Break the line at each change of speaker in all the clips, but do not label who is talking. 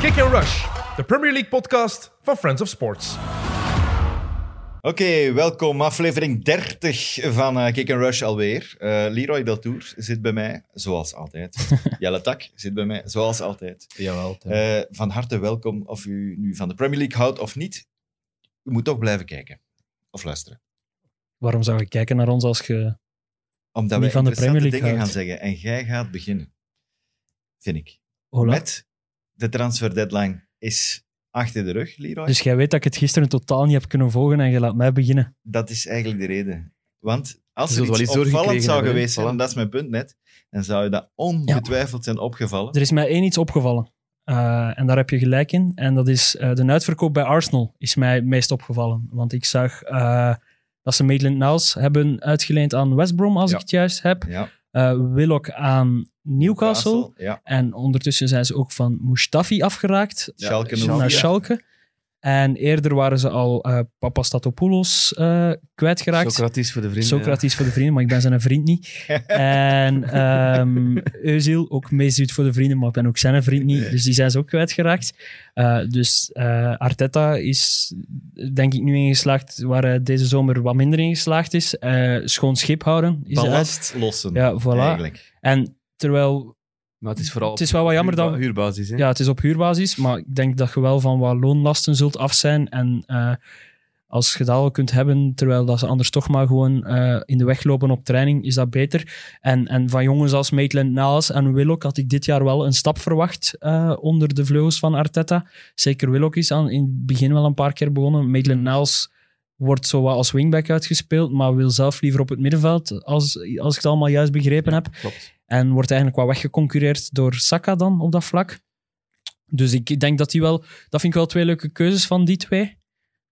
Kick and Rush, de Premier League podcast van Friends of Sports.
Oké, welkom. Aflevering 30 van eh, Kick and Rush alweer. Eh Leroy Deltour zit bij mij, zoals altijd. Jelle Tak zit bij mij, zoals altijd.
Jawel. Tim.
Eh, van harte welkom, of u nu van de Premier League houdt of niet. U moet toch blijven kijken. Of luisteren.
Waarom zou je kijken naar ons als je...
Omdat
Niet
wij
van de
interessante
Premier League
dingen gaan
houdt.
zeggen. En jij gaat beginnen. Vind ik.
Hola.
Met de transfer deadline is achter de rug, Leroy.
Dus jij weet dat ik het gisteren totaal niet heb kunnen volgen en je laat mij beginnen.
Dat is eigenlijk de reden. Want als
Je
er
zult wel
iets
iets doorgekregen
opvallend zou
hebben, hè?
geweest zijn,
Voilà.
en dat is mijn punt net, dan zou je dat ongetwijfeld zijn opgevallen.
Er is mij één iets opgevallen. Eh, en daar heb je gelijk in. En dat is eh, de uitverkoop bij Arsenal is mij het meest opgevallen. Want ik zag eh, dat ze Maitland Niles hebben uitgeleend aan West Brom, als
Ja.
ik het juist heb.
Ja,
Eh Willock aan Newcastle.
Ja.
En ondertussen zijn ze ook van Mustafi afgeraakt. eh,
Ja, Schalke
Schalke.
naar
Ja.
Schalke. En eerder waren ze al eh Papastatopoulos eh, kwijtgeraakt.
Socrates voor de vrienden.
Socrates voor de vrienden, maar ik ben zijn vriend niet. En ehm Özil, ook meestuurt voor de vrienden, maar ik ben ook zijn vriend niet. Dus die zijn ze ook kwijtgeraakt. Eh, dus eh, Arteta is denk ik nu ingeslaagd waar hij deze zomer wat minder in geslaagd is. Eh, schoon schip houden is de uit.
Ballast lossen,
Ja, voilà.
eigenlijk.
En terwijl,
Maar het is vooral
het is wel wat jammer
huurba-
dat...
Huurbasis, hè?
Ja, het is op huurbasis, maar ik denk dat je wel van wat loonlasten zult af zijn. En eh, als je dat al kunt hebben, terwijl dat ze anders toch maar gewoon eh, in de weg lopen op training, is dat beter. En, en van jongens als Maitland Niles en Willock had ik dit jaar wel een stap verwacht eh, onder de vleugels van Arteta. Zeker Willock is aan, in het begin wel een paar keer begonnen. Maitland Niles wordt zo wat als wingback uitgespeeld, maar wil zelf liever op het middenveld, als, als ik het allemaal juist begrepen heb.
Klopt.
En wordt eigenlijk wat weggeconcureerd door Saka dan op dat vlak. Dus ik denk dat die wel... Dat vind ik wel twee leuke keuzes van die twee.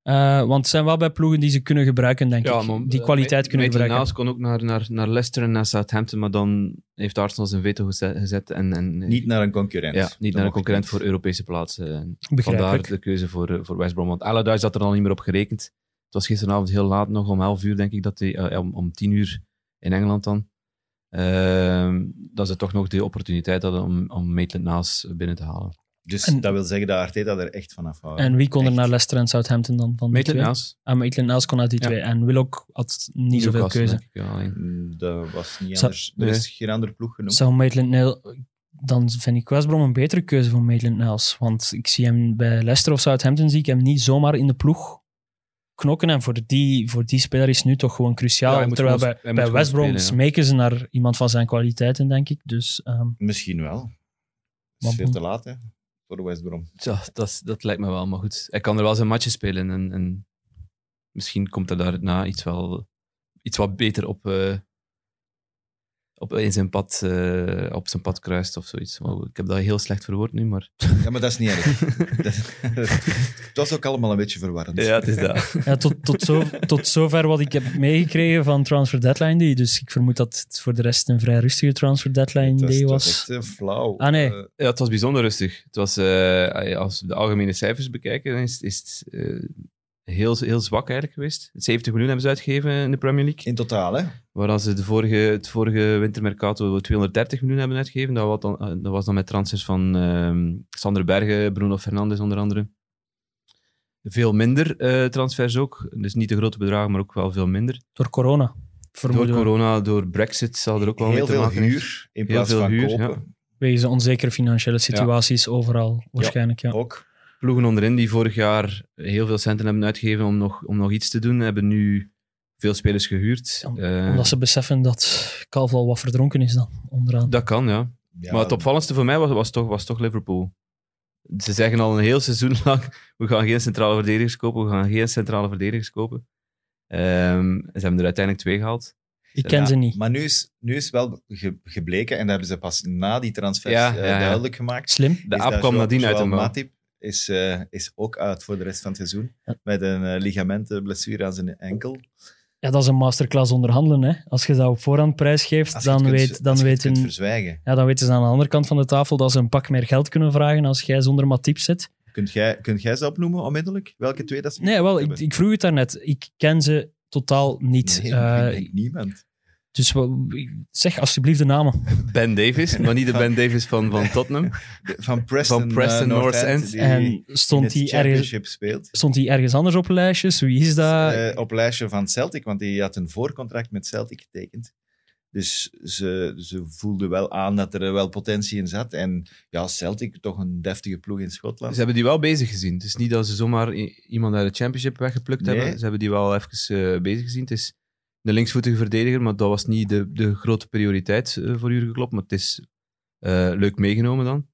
Eh, want het zijn wel bij ploegen die ze kunnen gebruiken, denk ik. die kwaliteit kunnen gebruiken.
eh, Naast kon ook naar, naar, naar Leicester en naar Southampton, maar dan heeft Arsenal zijn veto gezet. gezet en, en, eh,
Niet naar een concurrent.
ja, niet
Dat
naar een
mocht
concurrent
niet.
voor Europese plaatsen. En Vandaar
Begrijpelijk.
de keuze voor, eh, voor West Brom. Want Allardyce had er al niet meer op gerekend. Het was gisteravond heel laat nog, om 11 uur denk ik, dat hij, eh, om, om 10 uur in Engeland dan. Ehm, dat ze toch nog de opportuniteit hadden om, om Maitland Naas binnen te halen.
Dus
En-
dat wil zeggen dat Arteta er echt van afhoudt.
En wie kon er
Echt.
naar Leicester en Southampton dan? Van die
Maitland
twee?
Naas.
Ah, Maitland Niles kon uit die
Ja.
twee. En Willock had niet zoveel
Newcastle,
keuze.
denk ik, ja, alleen.
Mm, Dat was niet
Zou-
anders. Er is geen andere ploeg genoemd.
Zou Maitland Niles... Dan vind ik West Brom een betere keuze voor Maitland Niles. Want ik zie hem bij Leicester of Southampton zie ik hem niet zomaar in de ploeg knokken. En voor die, voor die speler is nu toch gewoon
Ja,
cruciaal.
hij moet
Terwijl
gewoon-
bij,
hij moet
bij
gewoon
West Brom
spelen, ja.
smeken ze naar iemand van zijn kwaliteiten, denk ik. Dus ehm,
Misschien wel. Het is
Maar
veel
bon.
te laat, hè. Voor West Brom.
Tja, dat, is- dat lijkt me wel. Maar goed, hij kan er wel zijn matje spelen. En, en misschien komt er daarna iets, wel, iets wat beter op, eh, op in zijn pad, eh, op zijn pad kruist of zoiets. Maar goed, ik heb dat heel slecht verwoord nu, maar...
Ja, maar dat is niet erg. Dat- het was ook allemaal een beetje verwarrend.
het is dat.
Ja, tot, tot, zo, tot zover wat ik heb meegekregen van Transfer Deadline Day. Dus ik vermoed dat het voor de rest een vrij rustige Transfer Deadline
Het was,
Day
het
was.
was echt eh, flauw.
Ah, nee.
Eh,
Ja, het was bijzonder rustig. Het was, eh, als we de algemene cijfers bekijken, dan is, is het eh, heel, heel zwak eigenlijk geweest. 70 miljoen hebben ze uitgegeven in de Premier League.
in totaal, hè.
Waar ze de vorige, het vorige wintermercato 230 miljoen hebben uitgegeven. Dat was dan, eh, dat was dan met transfers van ehm, Sander Bergen, Bruno Fernandes onder andere. Veel minder eh, transfers ook. Dus niet de grote bedragen, maar ook wel veel minder.
Door corona. Vermoeden
Door
we.
corona, door Brexit zal er ook wel
Heel
mee te
veel
maken
huur in
Heel
plaats
veel
van
huur,
kopen.
ja.
Wegens de onzekere financiële situaties overal, waarschijnlijk. Ja.
Ook.
ploegen onderin die vorig jaar heel veel centen hebben uitgegeven om nog, om nog iets te doen, hebben nu veel spelers gehuurd.
Om-
Eh,
Omdat ze beseffen dat Kalf al wat verdronken is dan, onderaan.
dat kan, ja.
Ja,
Maar het opvallendste voor mij was, was, toch, was toch Liverpool. Ze zeggen al een heel seizoen lang, we gaan geen centrale verdedigers kopen, we gaan geen centrale verdedigers kopen. Ehm, ze hebben er uiteindelijk twee gehaald.
Ik ken
Ja,
ze niet.
Maar nu is, nu is wel ge- gebleken, en dat hebben ze pas na die transfer
Ja,
eh,
ja, ja.
duidelijk gemaakt.
Slim.
De
is
aap
dat
kwam
Joao-
nadien uit de
Joao
mouw.
Matip is, eh, is ook uit voor de rest van het seizoen.
Ja.
Met een eh, ligamentenblessure aan zijn enkel.
Ja, dat is een masterclass onderhandelen. Hè. Als je dat op voorhand prijs geeft,
Als je
dan,
het kunt- als
weet, dan,
je het
weten,
kunt verzwijgen.
ja, dan weten ze aan de andere kant van de tafel dat ze een pak meer geld kunnen vragen als jij zonder Matip zit.
Kunt jij, kunt jij ze opnoemen onmiddellijk? Welke twee dat ze
Nee, wel, ik,
hebben?
ik vroeg het daarnet. Ik ken ze totaal niet.
Nee,
Eh,
ik denk niemand.
Dus we- zeg alsjeblieft de namen.
Ben Davis, maar niet de Ben Davis van, van Tottenham.
De- Van Preston,
Van Preston
eh,
North
End,
End.
die in
En
het
stond hij ergens,
championship speelt.
stond die ergens anders op lijstjes? Wie is dat?
Eh, op lijstje van Celtic, want die had een voorcontract met Celtic getekend. Dus ze, ze voelden wel aan dat er wel potentie in zat. En ja, Celtic, toch een deftige ploeg in Schotland.
Ze hebben die wel bezig gezien. Het is niet dat ze zomaar i- iemand uit de championship weggeplukt
Nee.
hebben. Ze hebben die wel even eh, bezig gezien. Het is de linksvoetige verdediger, maar dat was niet de, de grote prioriteit eh, voor Jurgen Klopp. Maar het is eh, leuk meegenomen dan.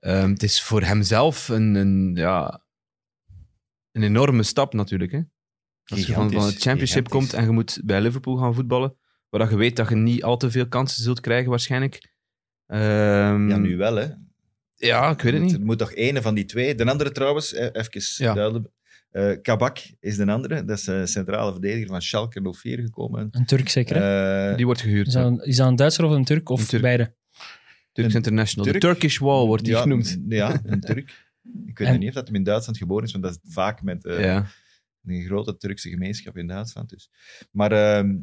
Ehm, het is voor hemzelf een, een, ja, een enorme stap natuurlijk. Hè? Als je van, van het
Gigantisch,
championship
gigantisch.
komt en je moet bij Liverpool gaan voetballen, waar dat je weet dat je niet al te veel kansen zult krijgen waarschijnlijk. Ehm,
Ja, nu wel, hè.
ja, ik weet het niet.
Er moet toch ene van die twee. De andere trouwens, eh, even
Ja.
duidelijk. Eh, Kabak is de andere. Dat is de centrale verdediger van Schalke 04 gekomen.
Een Turk zeker, hè?
Eh,
Die wordt gehuurd.
Is
ja.
dat, een, is dat een Duitser of een Turk? Of
Een Turk.
beide?
Turks
Een
International.
Turk?
De Turkish Wall wordt die
ja,
genoemd.
m- Ja, een Turk. Ik weet
En-
niet of dat hem in Duitsland geboren is, want dat is vaak met eh,
ja.
een grote Turkse gemeenschap in Duitsland. Dus. Maar ehm,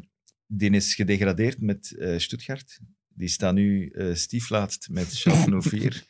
die is gedegradeerd met eh Stuttgart. Die staat nu eh stieflaatst met Schalke 04.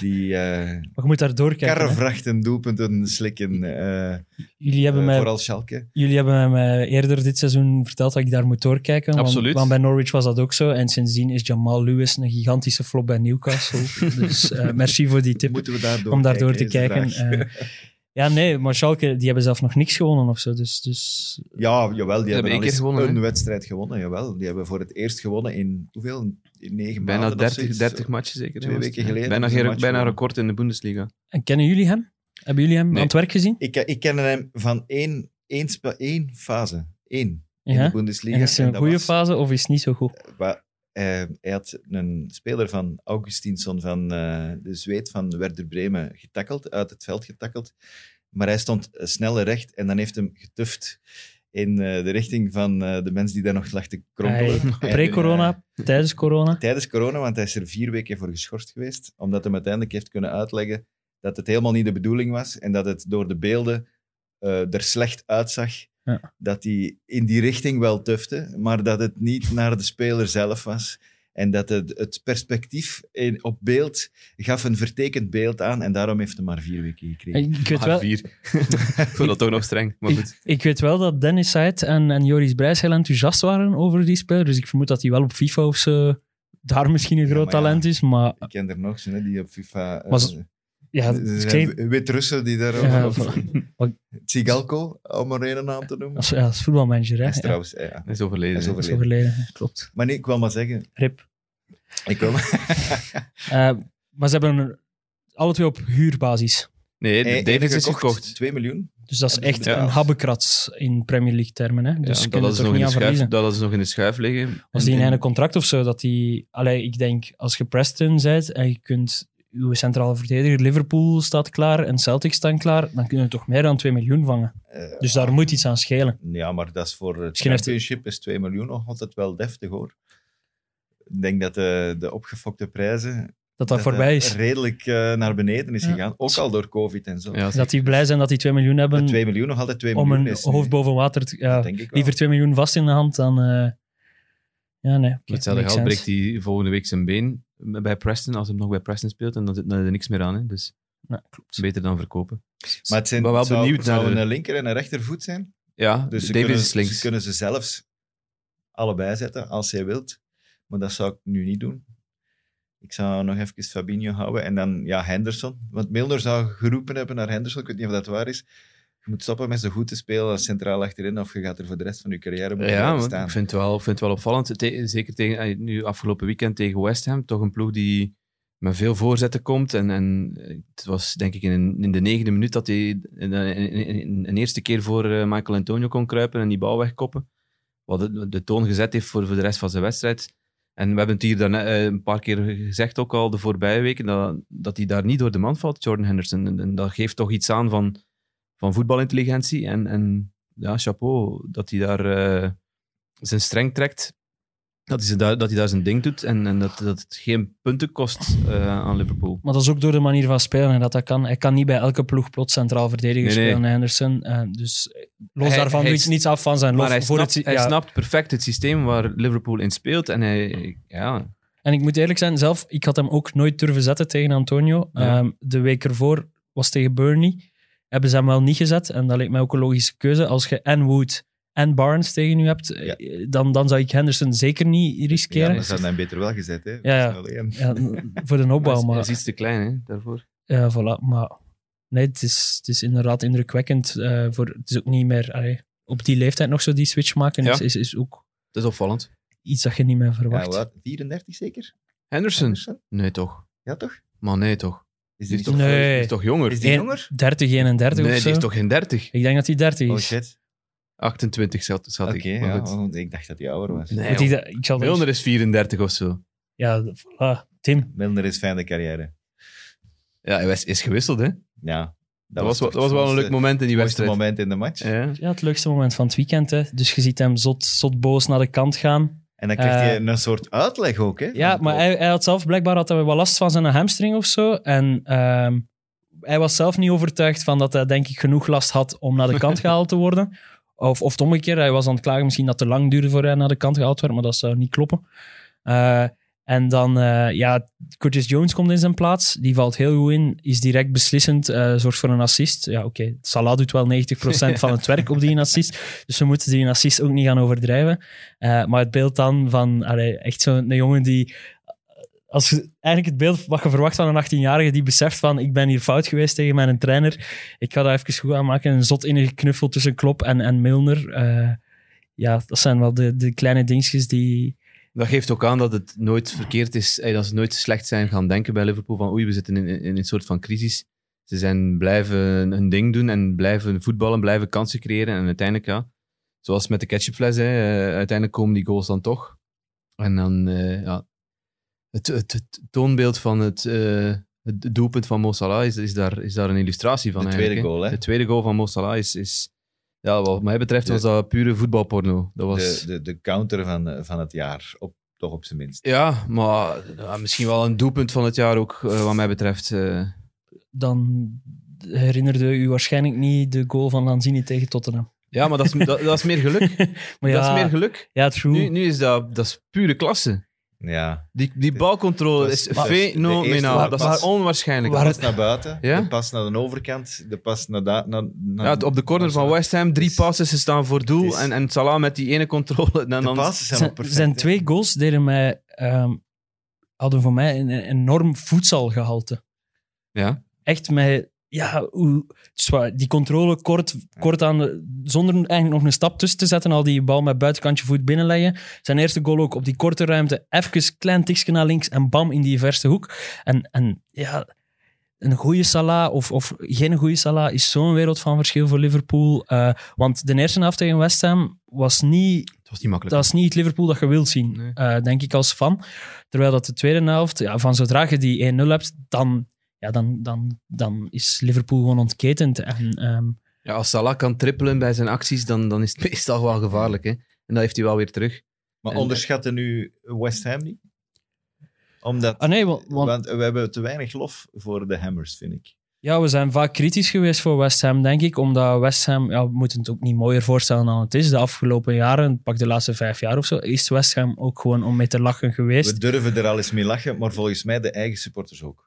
Die eh
Maar je moet daar doorkijken. hè.
karrevrachten, doelpunten slikken. eh,
Jullie hebben,
eh,
mij,
vooral Schalke.
jullie hebben mij eerder dit seizoen verteld dat ik daar moet doorkijken. want-
Absoluut.
Want, bij Norwich was dat ook zo. En sindsdien is Jamal Lewis een gigantische flop bij Newcastle. dus eh, merci voor die tip.
Moeten we daar
om daar door te
kijken,
kijken.
is de vraag.
eh. ja, nee, maar Schalke, die hebben zelf nog niks gewonnen of zo. Dus, dus
ja, jawel, die
hebben
hebben
één
al
keer
eens
gewonnen,
een
hè?
wedstrijd gewonnen. Jawel. Die hebben voor het eerst gewonnen in hoeveel? In negen
Bijna
maanden of
30,
zoiets.
30 matchen zeker. hè,
twee
was het?
weken geleden
Bijna,
is een
geen-
match
bijna
gewonnen.
record in de Bundesliga.
en kennen jullie hem? Hebben jullie hem
Nee.
aan het werk gezien?
Ik, eh, ik ken hem van één, één, spe- één fase. Eén. In de
Ja.
Bundesliga.
En is het
En
een
dat
goede
was-
fase of is het niet zo goed?
wa- eh, hij had een speler van Augustinsson van eh, de Zweed van Werder Bremen getakkeld, uit het veld getakkeld. Maar hij stond eh, snel recht en dan heeft hem getuft in eh, de richting van eh, de mens die daar nog lag te kronkelen.
Hij-
En, eh,
Pre-corona, tijdens corona.
tijdens corona, want hij is er vier weken voor geschorst geweest, omdat hij uiteindelijk heeft kunnen uitleggen dat het helemaal niet de bedoeling was en dat het door de beelden eh, er slecht uitzag.
Ja.
Dat hij in die richting wel tufte, maar dat het niet naar de speler zelf was. En dat het, het perspectief in, op beeld gaf een vertekend beeld aan en daarom heeft hij maar vier weken gekregen.
Ik weet,
Maar
wel,
Ah, vier. Ik vond dat toch nog streng. Maar goed.
ik weet wel dat Dennis Said en, en Joris Brijs heel enthousiast waren over die speler. Dus ik vermoed dat hij wel op FIFA of zo daar misschien een
Ja,
groot
maar ja.
talent is. Maar
Ik ken er nog zo'n hè, die op FIFA... eh,
Was-
eh,
ja,
er
ik
zijn
weet-
Wit-Russen die daar...
Ja,
of-
maar-
Tsigalko, om er een naam te noemen.
als, ja, als voetbalmanager, hè.
Dat is
Ja,
trouwens... eh, ja.
Hij is overleden.
Hij is
hè.
overleden.
is overleden. ja, Klopt.
Maar nee, ik wil maar zeggen,
Rip.
Ik wil
Eh, maar ze hebben een- alle twee op huurbasis.
Nee,
Hey,
Davis
even
is gekocht.
2 miljoen.
Dus dat is echt
Ja.
een habbekrats in Premier League termen. Hè? Dus
Ja,
je
dat
kunt er
hadden ze
toch
nog in
niet
de
aan
schuif-
verliezen.
dat hadden ze nog in de schuif liggen.
Als die
En-
in
en-
een contract of zo, dat die... Allee, ik denk, als je Preston bent en je kunt... Uw centrale verdediger, Liverpool staat klaar en Celtic staan klaar. Dan kunnen we toch meer dan 2 miljoen vangen.
Eh,
Dus daar moet iets aan schelen.
Ja, maar dat is voor het
Misschien heeft-
championship is 2 miljoen nog altijd wel deftig, hoor. Ik denk dat de, de opgefokte prijzen
Dat dat,
dat
voorbij
dat
is.
redelijk eh, naar beneden is
Ja.
gegaan. Ook al door COVID en zo.
Ja,
Dat die blij zijn dat die 2 miljoen hebben
Maar 2 miljoen nog altijd 2
om
miljoen
een
is. nu.
hoofd boven water te... Ja,
Dat denk ik wel.
liever 2 miljoen vast in de hand dan... eh, ja, nee. oké,
met hetzelfde
makes
geld breekt
sense.
hij volgende week zijn been bij Preston. Als hij nog bij Preston speelt, en dan zit er niks meer aan. Hè. Dus
Ja, klopt.
beter dan verkopen.
Maar het zijn,
ben wel
het zou-
benieuwd
het zou
naar de-
een linker en een rechtervoet zijn.
Ja,
Dus ze
Davis
kunnen,
is links.
ze kunnen ze zelfs allebei zetten als je wilt. Maar dat zou ik nu niet doen. Ik zou nog even Fabinho houden en dan ja, Henderson. Want Milner zou geroepen hebben naar Henderson. Ik weet niet of dat waar is. Je moet stoppen met zo goed te spelen als centraal achterin of je gaat er voor de rest van je carrière moeten
Ja,
blijven
maar
staan.
ik vind het wel, ik vind het wel opvallend. Te- zeker tegen, eh, nu afgelopen weekend tegen West Ham. Toch een ploeg die met veel voorzetten komt. En, en eh, het was denk ik in, in de negende minuut dat hij eh, een, een- een- een eerste keer voor eh, Michael Antonio kon kruipen en die bal wegkoppen. Wat de, de toon gezet heeft voor, voor de rest van zijn wedstrijd. En we hebben het hier daarna, eh, een paar keer gezegd ook al de voorbije weken, dat, dat hij daar niet door de man valt, Jordan Henderson. En, en dat geeft toch iets aan van, van voetbalintelligentie. En, en ja, chapeau dat hij daar... eh, zijn streng trekt Dat, is, daar- dat hij daar zijn ding doet en, en dat, dat het geen punten kost eh, aan Liverpool.
Maar dat is ook door de manier van spelen en dat dat kan. Hij kan niet bij elke ploeg plots centraal verdediger
Nee, nee.
spelen, Henderson. Eh, dus los
Hij-
daarvan
hij
doet
is-
niets af van zijn lof.
Maar hij
voor
snapt,
het,
hij
ja.
snapt perfect het systeem waar Liverpool in speelt. En hij, ja,
En ik moet eerlijk zijn, zelf, ik had hem ook nooit durven zetten tegen Antonio.
Ja.
Ehm, de week ervoor was tegen Burnley. Hebben ze hem wel niet gezet. En dat leek mij ook een logische keuze. Als je en Wood en Barnes tegen u hebt, eh, dan, dan zou ik Henderson zeker niet
Ja,
riskeren.
maar ze hadden hem beter wel gezet, hè.
ja.
Alleen.
Ja, voor de
hij,
opbouw,
is, hij
maar...
is iets te klein hè, daarvoor.
Ja, voilà. Maar nee, het is, het is inderdaad indrukwekkend. eh, voor, het is ook niet meer... allee, op die leeftijd nog zo die switch maken
Ja.
is, is, is ook
Dat is opvallend.
iets dat je niet meer
Ja,
verwacht.
wat? 34 zeker?
Henderson?
Anderson?
Nee, toch.
Ja, toch?
Maar nee, toch.
Is die
Die is
niet
toch,
toch...
Nee.
die is toch jonger?
Is die
Eén-
jonger?
30, 31
nee,
of zo.
die is toch geen 30?
Ik denk dat hij 30
Oh,
is.
shit.
28 zat, zat
Oké,
ik. Maar
ja,
goed.
want ik dacht dat hij ouder was.
Nee,
Moet ik, dat- ik zal dat-
Milner is 34 of zo.
Ja, voilà. Tim.
Milner is fijne carrière.
Ja, hij was- is gewisseld, hè? Dat,
Ja. Dat,
was, wel-
toch
dat was wel een
het
leuk moment in die
mooiste
wedstrijd.
moment in de match.
Ja.
Ja, het leukste moment van het weekend. Hè. Dus je ziet hem zot, zot boos naar de kant gaan.
En dan krijgt hij
Eh,
een soort uitleg ook, hè?
Ja,
Van-
maar hij, hij had zelf blijkbaar had hij wel last van zijn hamstring of zo. En ehm, hij was zelf niet overtuigd van dat hij, denk ik, genoeg last had om naar de kant gehaald te worden. Of, of het omgekeerde, hij was aan het klagen misschien dat het te lang duurde voor hij naar de kant gehaald werd, maar dat zou niet kloppen. Eh, en dan, eh, ja, Curtis Jones komt in zijn plaats. Die valt heel goed in, is direct beslissend, eh, zorgt voor een assist. Ja, oké, Salah doet wel 90% van het werk op die assist. Dus we moeten die assist ook niet gaan overdrijven. Eh, maar het beeld dan van, allee, echt zo'n een jongen die... Als je, eigenlijk het beeld wat je verwacht van een 18-jarige die beseft van, ik ben hier fout geweest tegen mijn trainer. Ik ga daar even goed aan maken. Een zot innige knuffel tussen Klop en, en Milner. Eh, ja, dat zijn wel de, de kleine dingetjes die...
Dat geeft ook aan dat het nooit verkeerd is, eh, dat ze nooit slecht zijn gaan denken bij Liverpool van oei, we zitten in, in een soort van crisis. Ze zijn blijven hun ding doen en blijven voetballen, blijven kansen creëren. En uiteindelijk, ja, zoals met de ketchupfles, hè, eh, uiteindelijk komen die goals dan toch. En dan, eh, ja, het, het, het toonbeeld van het, eh, het doelpunt van Mo Salah is, is, daar, is daar een illustratie van
De tweede
eigenlijk,
goal, hè?
De tweede goal van Mo Salah is, is ja, wat mij betreft,
De-
was dat pure voetbalporno. Dat was...
de, de, de counter van, eh, van het jaar, op, toch op zijn minst.
Ja, maar ja, misschien wel een doelpunt van het jaar ook, eh, wat mij betreft. eh.
Dan herinnerde u waarschijnlijk niet de goal van Lanzini tegen Tottenham.
Ja, maar dat is, dat, dat is meer geluk.
Maar ja,
Dat is meer geluk.
ja, true.
Nu, nu is dat, dat is pure klasse.
Ja.
Die, die balcontrole
Dat
is
is- dat is de eerste
fenomenaal.
waar-
Dat
waar-
is onwaarschijnlijk.
waar-
Pas naar buiten,
Ja?
de pas naar de overkant, de pas naar... Da, naar, naar-
Ja, het- op de corner van West Ham, drie
Het is-
passes, ze staan voor doel.
het is-
en, en Salah met die ene controle. En
De
dan,
passen zijn,
zijn,
wel perfect.
zijn
hè.
twee goals deden mij, ehm, hadden voor mij een, een enorm voedselgehalte.
Ja.
Echt met, ja, hoe, het is waar, die controle kort, kort aan, de- zonder eigenlijk nog een stap tussen te zetten, al die bal met buitenkantje voet binnenleggen. Zijn eerste goal ook op die korte ruimte, even klein tikje naar links en bam in die verste hoek. En, en ja, een goede Salah of, of geen goede Salah is zo'n wereld van verschil voor Liverpool. Eh, want de eerste helft tegen West Ham was niet
het was niet makkelijk.
dat is niet het Liverpool dat je wilt zien,
Nee.
eh, denk ik als fan. Terwijl dat de tweede helft, ja, van zodra je die 1-0 hebt, dan, ja, dan, dan, dan is Liverpool gewoon ontketend. En, ehm,
Ja, als Salah kan trippelen bij zijn acties, dan, dan is het meestal wel gevaarlijk. Hè? En dat heeft hij wel weer terug.
Maar
En-
onderschatten nu West Ham niet? Omdat...
ah nee, want, want-
Want we hebben te weinig lof voor de Hammers, vind ik.
ja, we zijn vaak kritisch geweest voor West Ham, denk ik. Omdat West Ham, ja, we moeten het ook niet mooier voorstellen dan het is. De afgelopen jaren, pak de laatste vijf jaar of zo, is West Ham ook gewoon om mee te lachen geweest.
We durven er al eens mee lachen, maar volgens mij de eigen supporters ook.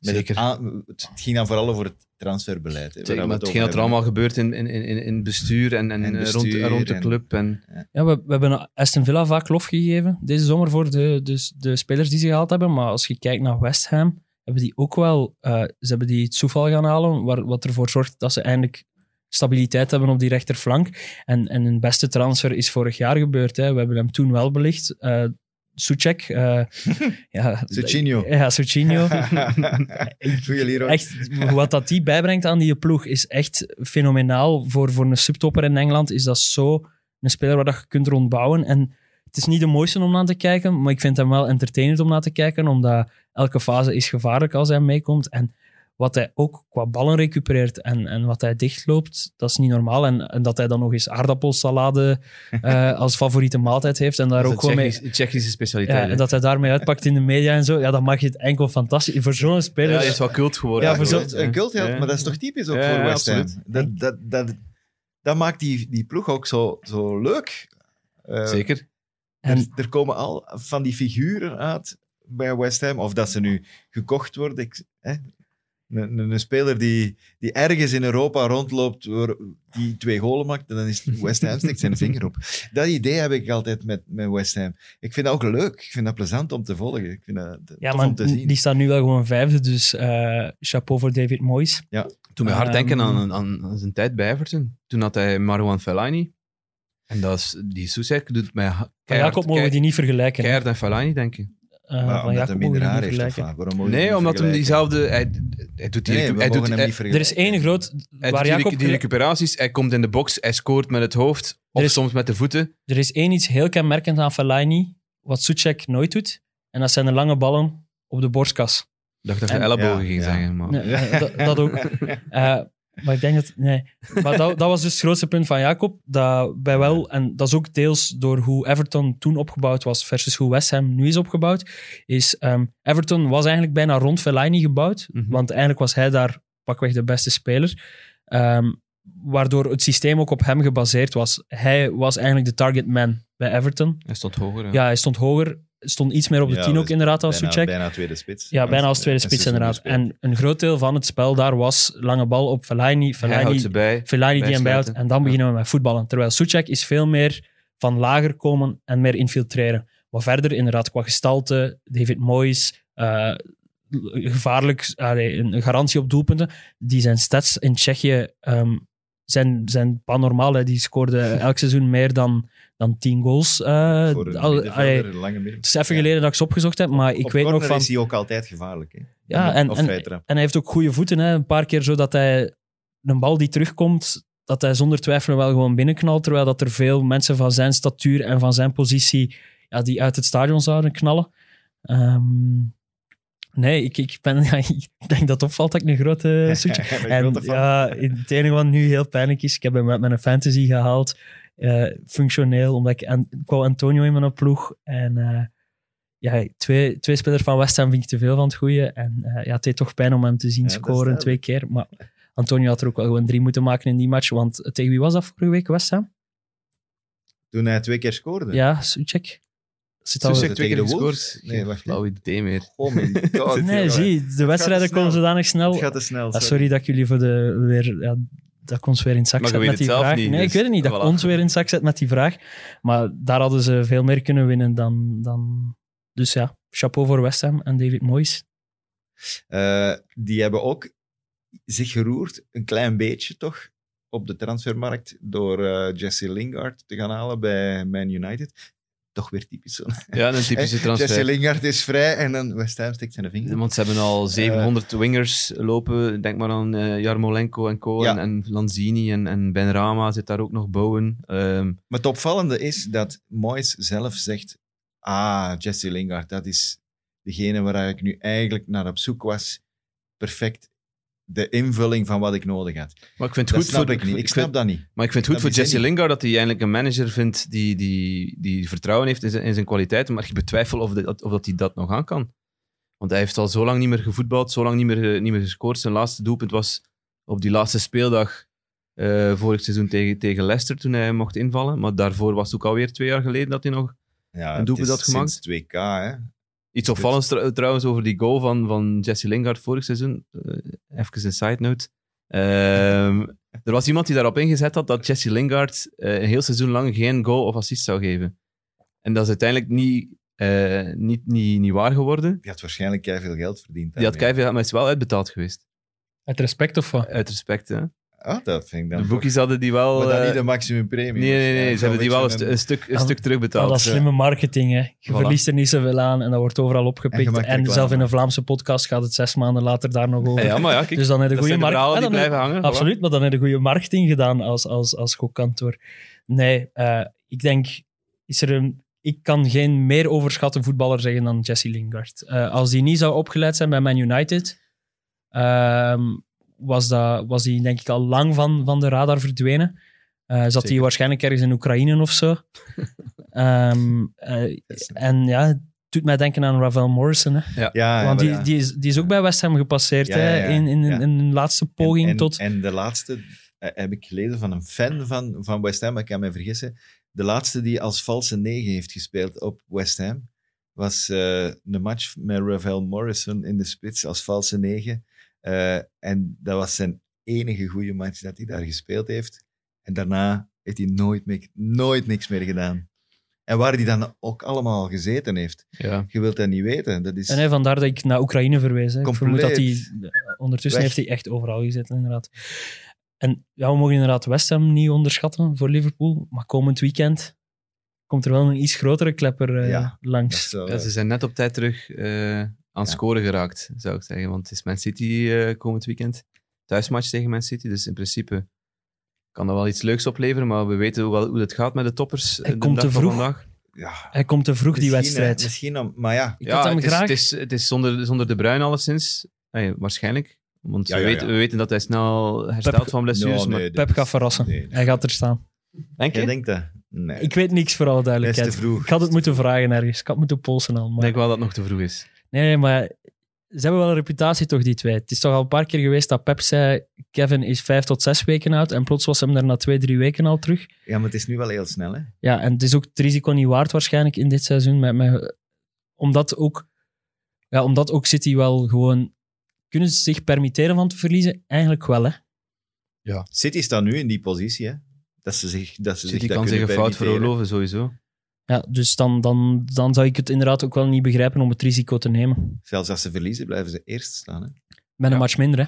Met
Zeker.
Het, aan- het ging dan vooral over het transferbeleid. hè, waar
Tegen
we het
hetgeen
over
dat er allemaal gebeurt in, in, in, in het bestuur en, en,
En
eh,
bestuur
rond, rond de
en-
club. En,
Ja, we, we hebben Aston Villa vaak lof gegeven deze zomer voor de, de, de spelers die ze gehaald hebben. Maar als je kijkt naar West Ham, hebben die ook wel... eh, ze hebben die Soefal gaan halen, waar, wat ervoor zorgt dat ze eindelijk stabiliteit hebben op die rechterflank. En, en hun beste transfer is vorig jaar gebeurd. Hè. We hebben hem toen wel belicht. eh Suchek. eh, ja,
Suchinho.
Ja, Suchinho.
Goeie Leroy.
Echt, wat dat die bijbrengt aan die ploeg is echt fenomenaal. Voor, voor een subtopper in Engeland is dat zo een speler waar dat je kunt rondbouwen. En het is niet de mooiste om naar te kijken, maar ik vind hem wel entertainend om naar te kijken, omdat elke fase is gevaarlijk als hij meekomt. En wat hij ook qua ballen recupereert en, en wat hij dichtloopt, dat is niet normaal. En, en dat hij dan nog eens aardappelsalade eh, als favoriete maaltijd heeft en daar
Dat is
ook gewoon
een
mee...
Tsjechische, Tsjechische
Ja,
specialiteit.
en dat hij daarmee uitpakt in de media en zo, ja, dat mag je het enkel fantastisch. Voor zo'n speler...
is wel cult geworden.
Ja,
voor
eigenlijk,
cult,
hè.
een cultheld,
Ja.
maar dat is toch typisch ook
Ja,
voor
ja,
West Ham.
absoluut.
Dat, dat, dat, dat maakt die, die ploeg ook zo, zo leuk. Eh,
Zeker.
er,
En-
er komen al van die figuren uit bij West Ham, of dat ze nu gekocht worden. Ik, hè? Een, een, een speler die, die ergens in Europa rondloopt, waar- die twee golen maakt, en dan is het- West Ham steekt zijn vinger op. Dat idee heb ik altijd met, met West Ham. Ik vind dat ook leuk. Ik vind dat plezant om te volgen. Ik vind dat
Ja,
tof
maar
om te zien.
die staat nu wel gewoon vijfde, dus eh, chapeau voor David Moyes.
Toen me hard
Ehm,
denken aan, eh, aan, aan zijn tijd bij Everton. Toen had hij Marwan Fellaini. En dat is, die Soesek doet mij ha-
Van
keihard,
Jacob mogen we die niet vergelijken.
keihard aan Fellaini denken.
Eh,
Maar
van
omdat
Jacob
hij
mogen we
minder
die
haar
niet
heeft, of wat?
vergelijken.
waarom moet je die
Nee,
niet
omdat hem
vergelijken?
diezelfde... Hij, hij doet die,
Nee,
recu-
we
hij
mogen
doet,
hem
hij-
niet
Er is
vergelijken.
één groot...
hij
waar
doet die
Jacob
recu- die recuperaties. Hij komt in de box, hij scoort met het hoofd. Of
Er is-
soms met de voeten.
Er is één iets heel kenmerkend aan Fellaini, wat Suchek nooit doet. En dat zijn de lange ballen op de borstkas.
Ik dacht dat je
En-
ellebogen
Ja,
ging
ja.
zeggen. Maar.
Nee, eh, dat, dat ook. Eh, maar ik denk dat... Nee. Maar dat, dat was dus het grootste punt van Jacob. Dat bij wel, en dat is ook deels door hoe Everton toen opgebouwd was versus hoe West Ham nu is opgebouwd, is ehm, Everton was eigenlijk bijna rond Fellaini gebouwd.
Mhm.
Want eigenlijk was hij daar pakweg de beste speler. Ehm, waardoor het systeem ook op hem gebaseerd was. Hij was eigenlijk de target man bij Everton.
Hij stond hoger. hè.
Ja, hij stond hoger. Stond iets meer op de
Ja,
tien ook
dus
inderdaad als
bijna,
Suchek.
bijna tweede spits.
ja, bijna als tweede
dus Een
spits
seizoen
inderdaad.
gespeeld.
En een groot deel van het spel daar was lange bal op Fellaini.
Hij houdt
Fellaini,
ze bij.
Fellaini die
bijsluiten.
hem bijhoudt. En dan
Ja.
beginnen we met voetballen. Terwijl Suchek is veel meer van lager komen en meer infiltreren. Maar verder inderdaad qua gestalte, David Moyes... eh, gevaarlijk, allee, een garantie op doelpunten. Die zijn stats in Tsjechië ehm, zijn, zijn panormaal. Hè. Die scoorde elk seizoen meer dan, dan 10 goals. eh,
Voor een
al- allee,
middenvelder, een lange
het
middenvelder.
is even
Ja.
geleden dat ik ze opgezocht heb, maar ik
Op
weet nog
corner
van...
is hij ook altijd gevaarlijk. Hè?
Ja, en,
Of
en,
vrije trap.
en hij heeft ook goede voeten. Hè. Een paar keer zo dat hij een bal die terugkomt, dat hij zonder twijfel wel gewoon binnenknalt. Terwijl dat er veel mensen van zijn statuur en van zijn positie ja, die uit het stadion zouden knallen. Ehm, nee, ik, ik, ben, ja, ik denk dat het opvalt dat ik een grote zoetje...
Ik ben
En
grote fan.
ja, het enige wat nu heel pijnlijk is, ik heb hem uit mijn fantasy gehaald, eh, functioneel, omdat ik, en, ik wou Antonio in mijn ploeg. En eh, ja, twee, twee spelers van West Ham vind ik te veel van het goede. En eh, ja, het deed toch pijn om hem te zien
Ja, dat is
scoren twee keer. Maar Antonio had er ook wel gewoon drie moeten maken in die match, want tegen wie was dat vorige week, West Ham?
Toen hij twee keer scoorde.
Ja, Suchek. Zit al-
Suchek.
Soesek twee keer
Tegen de Wolves?
gescoord.
Nee,
Geen
wacht,
flauw idee meer.
Oh my god.
Nee,
jongen.
zie, de wedstrijden
snel.
komen zodanig snel.
Het gaat te snel.
Ah, sorry dat ik jullie voor de weer. Ja, dat ik ons weer in het zak
Maar je
zet
weet
met die
het zelf
vraag.
niet,
nee,
dus
ik weet het niet. Dat ik
voilà.
ons weer in het zak zet met die vraag. Maar daar hadden ze veel meer kunnen winnen dan. dan... Dus ja, chapeau voor West Ham en David Moyes.
Eh, die hebben ook zich geroerd, een klein beetje toch, op de transfermarkt door eh, Jesse Lingard te gaan halen bij Man United. Toch weer typisch. zo.
Ja, een typische
Jesse
transfer.
Lingard is vrij en dan West Ham steekt zijn vinger. op.
Want ze hebben al
Eh.
700 wingers lopen. Denk maar aan eh, Jarmolenko en Co.
Ja.
En, en Lanzini en, en Ben Rama zit daar ook nog. Bowen. Ehm,
Maar het opvallende is dat Moyes zelf zegt: Ah, Jesse Lingard, dat is degene waar ik nu eigenlijk naar op zoek was. Perfect de invulling van wat ik nodig had.
maar ik vind het
Dat
goed
snap
voor
ik niet. Ik
vind-
snap dat niet.
Maar ik vind het
Dat
goed voor
is hij
Jesse Lingard dat hij eigenlijk een manager vindt die, die, die vertrouwen heeft in zijn, in zijn kwaliteiten. Maar ik betwijfel of, dat- of dat hij dat nog aan kan. Want hij heeft al zo lang niet meer gevoetbald, zo lang niet meer, eh, niet meer gescoord. Zijn laatste doelpunt was op die laatste speeldag eh, vorig seizoen tegen, tegen Leicester toen hij mocht invallen. Maar daarvoor was het ook alweer twee jaar geleden dat hij nog...
Ja,
En doe
het
we
is
dat gemaakt?
Sinds 2K, hè?
Iets opvallends tr- trouwens over die goal van, van Jesse Lingard vorig seizoen. Eh, even een side note. Ehm, er was iemand die daarop ingezet had dat Jesse Lingard eh, een heel seizoen lang geen goal of assist zou geven. En dat is uiteindelijk niet, eh, niet, niet, niet waar geworden.
Die had waarschijnlijk keihard veel geld verdiend.
Die had
daarmee.
Kevin maar is wel uitbetaald geweest.
Uit respect of wat?
Uit respect, hè.
Ah, dat vind ik dan.
De boekies hadden die wel...
Maar dan
eh,
niet de maximum premie.
nee, nee, nee.
Ja,
Ze hebben die wel een, stu-
beetje
een stuk, een
Ah,
stuk terugbetaald. eh.
dat is slimme marketing, hè. Je
Voilà.
verliest er niet zoveel aan en dat wordt overal
En je
opgepikt.
maakt
En,
reclame.
zelf in een Vlaamse podcast gaat het zes maanden later daar nog over.
Ah, Ja, maar ja, kijk.
dus dan heb je
dat
goede
zijn de
marketing.
verhalen
Ah,
die
dan heb-
blijven hangen. voilà.
Absoluut, maar dan heb je goede marketing gedaan als, als, als gokkantoor. Nee, eh, ik denk, is er een, ik kan geen meer overschatte voetballer zeggen dan Jesse Lingard. Eh, als die niet zou opgeleid zijn bij Man United, ehm, was, dat, was die denk ik al lang van, van de radar verdwenen. Eh, zat hij
Zeker.
waarschijnlijk ergens in Oekraïne of zo. Ehm, eh, en ja, het doet mij denken aan Ravel Morrison. Hè.
Ah, Ja,
Want
maar
die,
ja.
die, is, die is ook bij West Ham gepasseerd
Ja,
hè,
ja, ja.
in, in,
Ja.
in hun laatste poging
en, en,
tot...
En de laatste eh, heb ik gelezen van een fan van, van West Ham, maar ik kan mij vergissen. De laatste die als valse negen heeft gespeeld op West Ham was eh een match met Ravel Morrison in de spits als valse negen. Eh, en dat was zijn enige goede match dat hij daar gespeeld heeft. En daarna heeft hij nooit, meer, nooit niks meer gedaan. En waar hij dan ook allemaal gezeten heeft.
Ja.
Je wilt dat niet weten. Dat is...
En hè, vandaar dat ik naar Oekraïne verwees. Hè. Ik vermoed dat hij...
Compleet.
Ondertussen
Weg.
heeft hij echt overal gezeten, inderdaad. En ja, we mogen inderdaad West Ham niet onderschatten voor Liverpool. Maar komend weekend komt er wel een iets grotere klepper eh,
Ja, dat
langs.
is wel,
Ja, ze zijn net op tijd terug eh, aan
Ja.
scoren geraakt, zou ik zeggen. Want het is Man City eh, komend weekend. Thuismatch tegen Man City. Dus in principe kan dat wel iets leuks opleveren. Maar we weten wel hoe het gaat met de toppers. eh,
Hij
de
komt
dag
te
van
vroeg.
Vandaag.
ja,
Hij komt te vroeg, die
misschien, eh,
wedstrijd.
Misschien om, maar ja,
ik had hem
het is,
graag...
Het is, het is zonder, zonder De Bruyne alleszins. Eh, waarschijnlijk. Want
Ja,
we,
ja,
weten,
ja.
we weten dat hij snel herstelt
Pep-
van blessures.
Nou,
maar,
nee, dit
Pep
is-
gaat verrassen.
nee, nee.
Hij gaat er staan.
Denk je?
Jij denkt dat? Nee.
Ik weet niks, voor alle
dat is te
duidelijkheid.
vroeg.
Ik had het moeten vragen ergens. Ik had moeten polsen al.
Ik
Maar...
denk wel dat het nog te vroeg is.
Nee, nee, maar ze hebben wel een reputatie, toch, die twee. Het is toch al een paar keer geweest dat Pep zei: Kevin is vijf tot zes weken oud. En plots was hem daar na twee, drie weken al terug.
Ja, maar het is nu wel heel snel, hè?
Ja, en het is ook het risico niet waard waarschijnlijk in dit seizoen. Met, met, omdat, ook, ja, omdat ook City wel gewoon... Kunnen ze zich permitteren van te verliezen? Eigenlijk wel, hè.
City staat nu in die positie, hè? Dat ze zich dat ze
City
zich dat
kan zich een
kunnen
fout
permitteren.
veroorloven, sowieso.
Ja, dus dan, dan, dan zou ik het inderdaad ook wel niet begrijpen om het risico te nemen.
Zelfs als ze verliezen, blijven ze eerst staan. Hè?
Met een
Ja.
match minder, hè.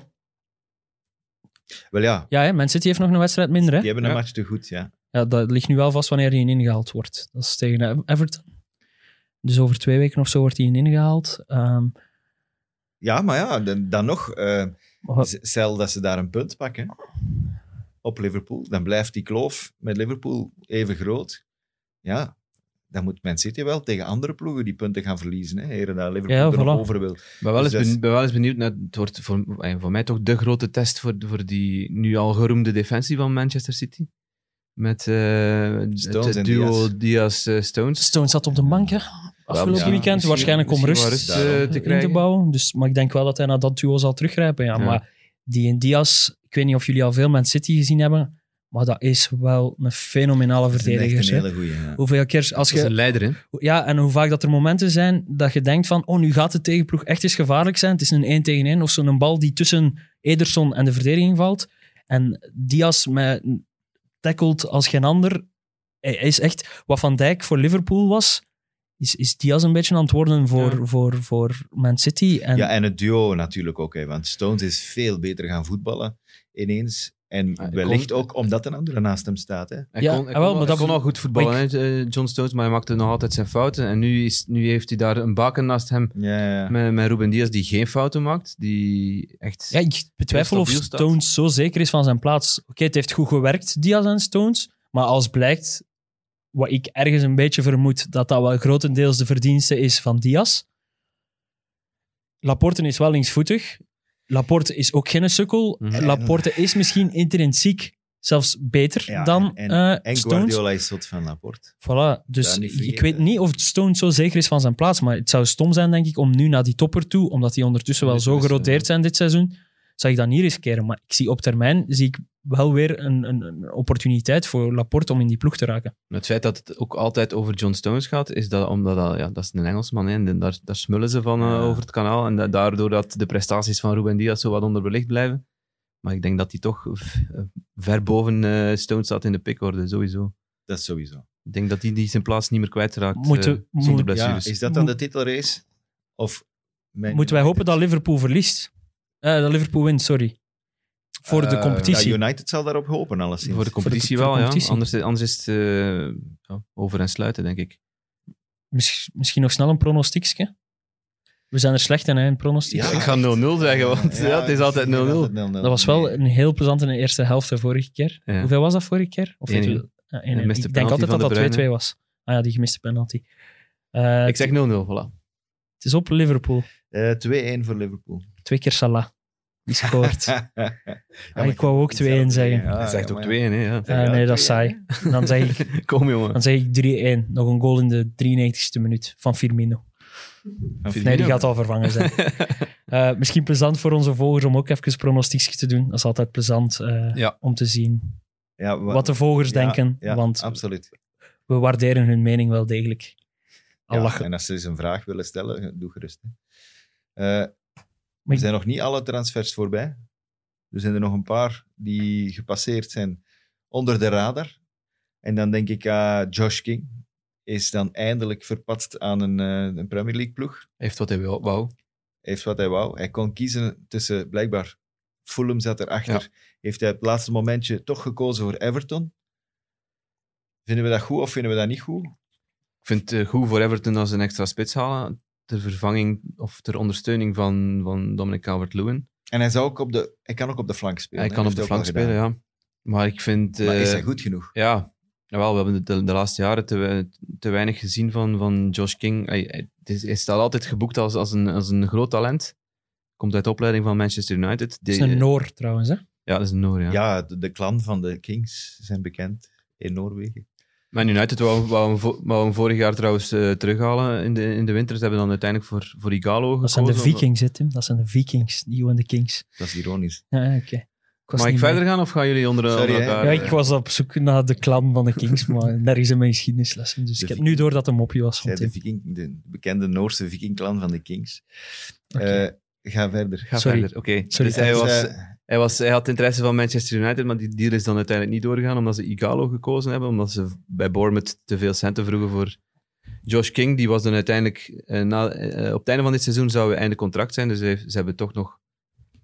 Wel ja,
Ja, hè, Man City heeft nog een wedstrijd minder,
die
hè.
hebben een
Ja.
match te goed, ja.
Ja, dat ligt nu wel vast wanneer hij ingehaald wordt. Dat is tegen Ev- Everton. Dus over twee weken of zo wordt hij ingehaald. Ehm,
Ja, maar ja, dan, dan nog, eh,
maar wat-
z- stel dat ze daar een punt pakken op Liverpool, dan blijft die kloof met Liverpool even groot. Ja, dan moet Man City wel tegen andere ploegen die punten gaan verliezen, hè? Heren, dat Liverpool
Ja,
er nog
voilà.
over wil.
Ik ben wel,
Dus
eens
dat is-
ben, ben wel eens benieuwd naar. Het wordt voor, eh, voor mij toch de grote test voor, voor die nu al geroemde defensie van Manchester City. Met eh, het,
Stones
het
en
duo eh,
Diaz.
Diaz-Stones.
Stones zat op de bank, hè. Afgelopen
misschien-
weekend,
misschien-
waarschijnlijk om
misschien
rust,
wat
eh,
eh,
te
te
in te
krijgen.
bouwen. Dus, maar ik denk wel dat hij naar dat duo zal teruggrijpen. Ja,
Ja.
Maar die en Diaz, ik weet niet of jullie al veel Man City gezien hebben, maar dat is wel een fenomenale
Dat is een echt
verdediger.
een
hè.
hele goeie, ja.
Hoeveel keer, als
Dat is
je,
een leider, hè?
ja, en hoe vaak dat er momenten zijn dat je denkt van, oh, nu gaat de tegenploeg echt eens gevaarlijk zijn. Het is een 1 tegen 1 of zo'n bal die tussen Ederson en de verdediging valt. En Diaz met, tackelt als geen ander. Hij hij is echt, wat Van Dijk voor Liverpool was, is, is Diaz een beetje aan het worden voor,
Ja.
voor, voor Man City. En,
ja, en het duo natuurlijk ook. Hè, want Stones is veel beter gaan voetballen ineens. En
Ah,
Ja, ik
wellicht
kon-
ook omdat een andere naast hem staat. Hè.
Hij
Ja,
kon, hij
ah, wel,
kon,
maar
hij
dat-
kon al goed voetballen, hè, eh, John Stones, maar hij maakte nog altijd zijn fouten. En nu, is, nu heeft hij daar een baken naast hem
Ja, ja.
met, met Ruben Diaz die geen fouten maakt. Die echt...
Ja, ik betwijfel
Heel
of
stabiel staat.
Stones zo zeker is van zijn plaats. Oké, het heeft goed gewerkt, Diaz en Stones. Maar als blijkt, wat ik ergens een beetje vermoed, dat dat wel grotendeels de verdienste is van Diaz. Laporte is wel linksvoetig. Laporte is ook geen sukkel.
Mhm.
Laporte is misschien intrinsiek zelfs beter
Ja,
dan
en,
eh,
en
Stones.
Guardiola is zot van Laporte.
Voilà, dus
Ja, niet
ik
vergeten.
weet niet of Stones zo zeker is van zijn plaats, maar het zou stom zijn, denk ik, om nu naar die topper toe, omdat die ondertussen wel
Dit
zo
is, eh,
geroteerd zijn dit seizoen, zou ik dat niet riskeren. Maar ik zie op termijn zie ik wel weer een, een, een opportuniteit voor Laporte om in die ploeg te raken.
Het feit dat het ook altijd over John Stones gaat, is dat omdat dat, ja, dat is een Engelsman hè, en daar, daar smullen ze van eh,
Ja.
over het kanaal. En da- daardoor dat de prestaties van Ruben Diaz zo wat onderbelicht blijven. Maar ik denk dat hij toch v- eh, ver boven eh, Stones staat in de pickorde, sowieso.
Dat is sowieso.
Ik denk dat hij die zijn plaats niet meer kwijtraakt
Moeten-
eh,
moet-
zonder
Ja,
blessures.
is dat dan de titelrace? Of Man
Moeten wij
United?
hopen dat Liverpool verliest? Eh, dat Liverpool wint, sorry. Voor de
Eh,
competitie.
Ja, United zal daarop hopen, alleszins.
voor de competitie
voor
wel,
de competitie.
ja. Anders, anders is het eh, ja, over en sluiten, denk ik.
Miss- misschien nog snel een pronostiekje. We zijn er slecht in, hè, in pronostiek.
Ja.
Ik ga 0-0 zeggen, want ja, het is altijd 0-0.
ik zeg
Ja,
altijd 0-0.
Dat was wel
Nee.
een heel plezante eerste helft de vorige keer.
Ja.
Hoeveel was dat vorige keer? Of
1-1.
weet u- Ja, 1-1.
Gemiste
ik denk
penalty
altijd
van
dat
De Bruyne.
dat 2-2 was. Ah ja, die gemiste penalty. Eh,
Ik zeg 0-0, voilà.
Het is op Liverpool.
Eh, 2-1 voor Liverpool.
Twee keer Salah. die scoort.
Ja, maar
Ah, ik wou ook 2-1 zeggen.
Hij zegt ook 2-1,
twee.
hè. Ja.
Eh, nee, dat is saai. Dan zeg ik,
Kom, jongen.
dan zeg ik 3-1. Nog een goal in de 93ste minuut van Firmino. Nee, die gaat al vervangen zijn. Eh, misschien plezant voor onze volgers om ook even pronostiekjes te doen. Dat is altijd plezant eh,
Ja.
om te zien
Ja,
wat, de volgers
ja,
denken.
ja,
want
absoluut.
we waarderen hun mening wel degelijk. Al
Ja,
lachen.
En als ze eens een vraag willen stellen, doe gerust. hè. Eh,
Maar
er
ik-
zijn nog niet alle transfers voorbij. Er zijn er nog een paar die gepasseerd zijn onder de radar. En dan denk ik, ah, Josh King is dan eindelijk verpatst aan een, eh, een Premier League ploeg.
Heeft wat hij wil. Wauw.
Heeft wat hij wou. Hij kon kiezen tussen, blijkbaar, Fulham zat erachter. Heeft hij op het laatste momentje toch gekozen voor Everton. Vinden we dat goed of vinden we dat niet goed?
Ik vind het eh, goed voor Everton als ze een extra spits halen. Ter vervanging of ter ondersteuning van, van Dominic Calvert-Lewin.
En hij, zou ook op de, hij kan ook op de flank spelen.
Hij
hè.
kan op
Heeft
de
hij ook
flank
al gedaan.
spelen, ja. Maar ik vind...
Maar is
eh,
hij goed genoeg?
Ja, jawel, we hebben de, de laatste jaren te, we- te weinig gezien van, van Josh King. Hij, hij, het is- hij staat altijd geboekt als, als, een, als een groot talent. Komt uit de opleiding van Manchester United.
Het
Die-
is een Noor trouwens. Hè?
ja, dat is een Noor, ja.
Ja, de, de clan van de Kings zijn bekend in Noorwegen.
Man United wou, wou, hem vo- wou hem vorig jaar trouwens eh, terughalen in de, in de winter. Ze hebben dan uiteindelijk voor, voor Igalo gekozen.
Dat zijn de
om-
Vikings, hè, Tim. Dat zijn de Vikings. Nieuw en de Kings.
Dat is ironisch.
Ja, ja, oké. was
Mag ik
niet
verder gaan of gaan jullie onder,
Sorry,
onder
hè.
elkaar?
mee. Ja, ik was op zoek naar de klan van de Kings, maar nergens in mijn geschiedenislessen. Dus
De
ik heb nu
Vikings.
door dat een mopje was van
Zij de,
Tim.
Viking, de bekende Noorse Viking-clan van de Kings.
Oké.
Eh, ga verder.
Ga
Sorry.
verder, oké.
Sorry,
Dus hij,
Dus,
was,
eh,
hij, was, hij had interesse van Manchester United, maar die deal is dan uiteindelijk niet doorgegaan omdat ze Igalo gekozen hebben, omdat ze bij Bournemouth te veel centen vroegen voor Josh King. Die was dan uiteindelijk... eh, na, eh, op het einde van dit seizoen zou hij einde contract zijn, dus hij heeft- ze hebben toch nog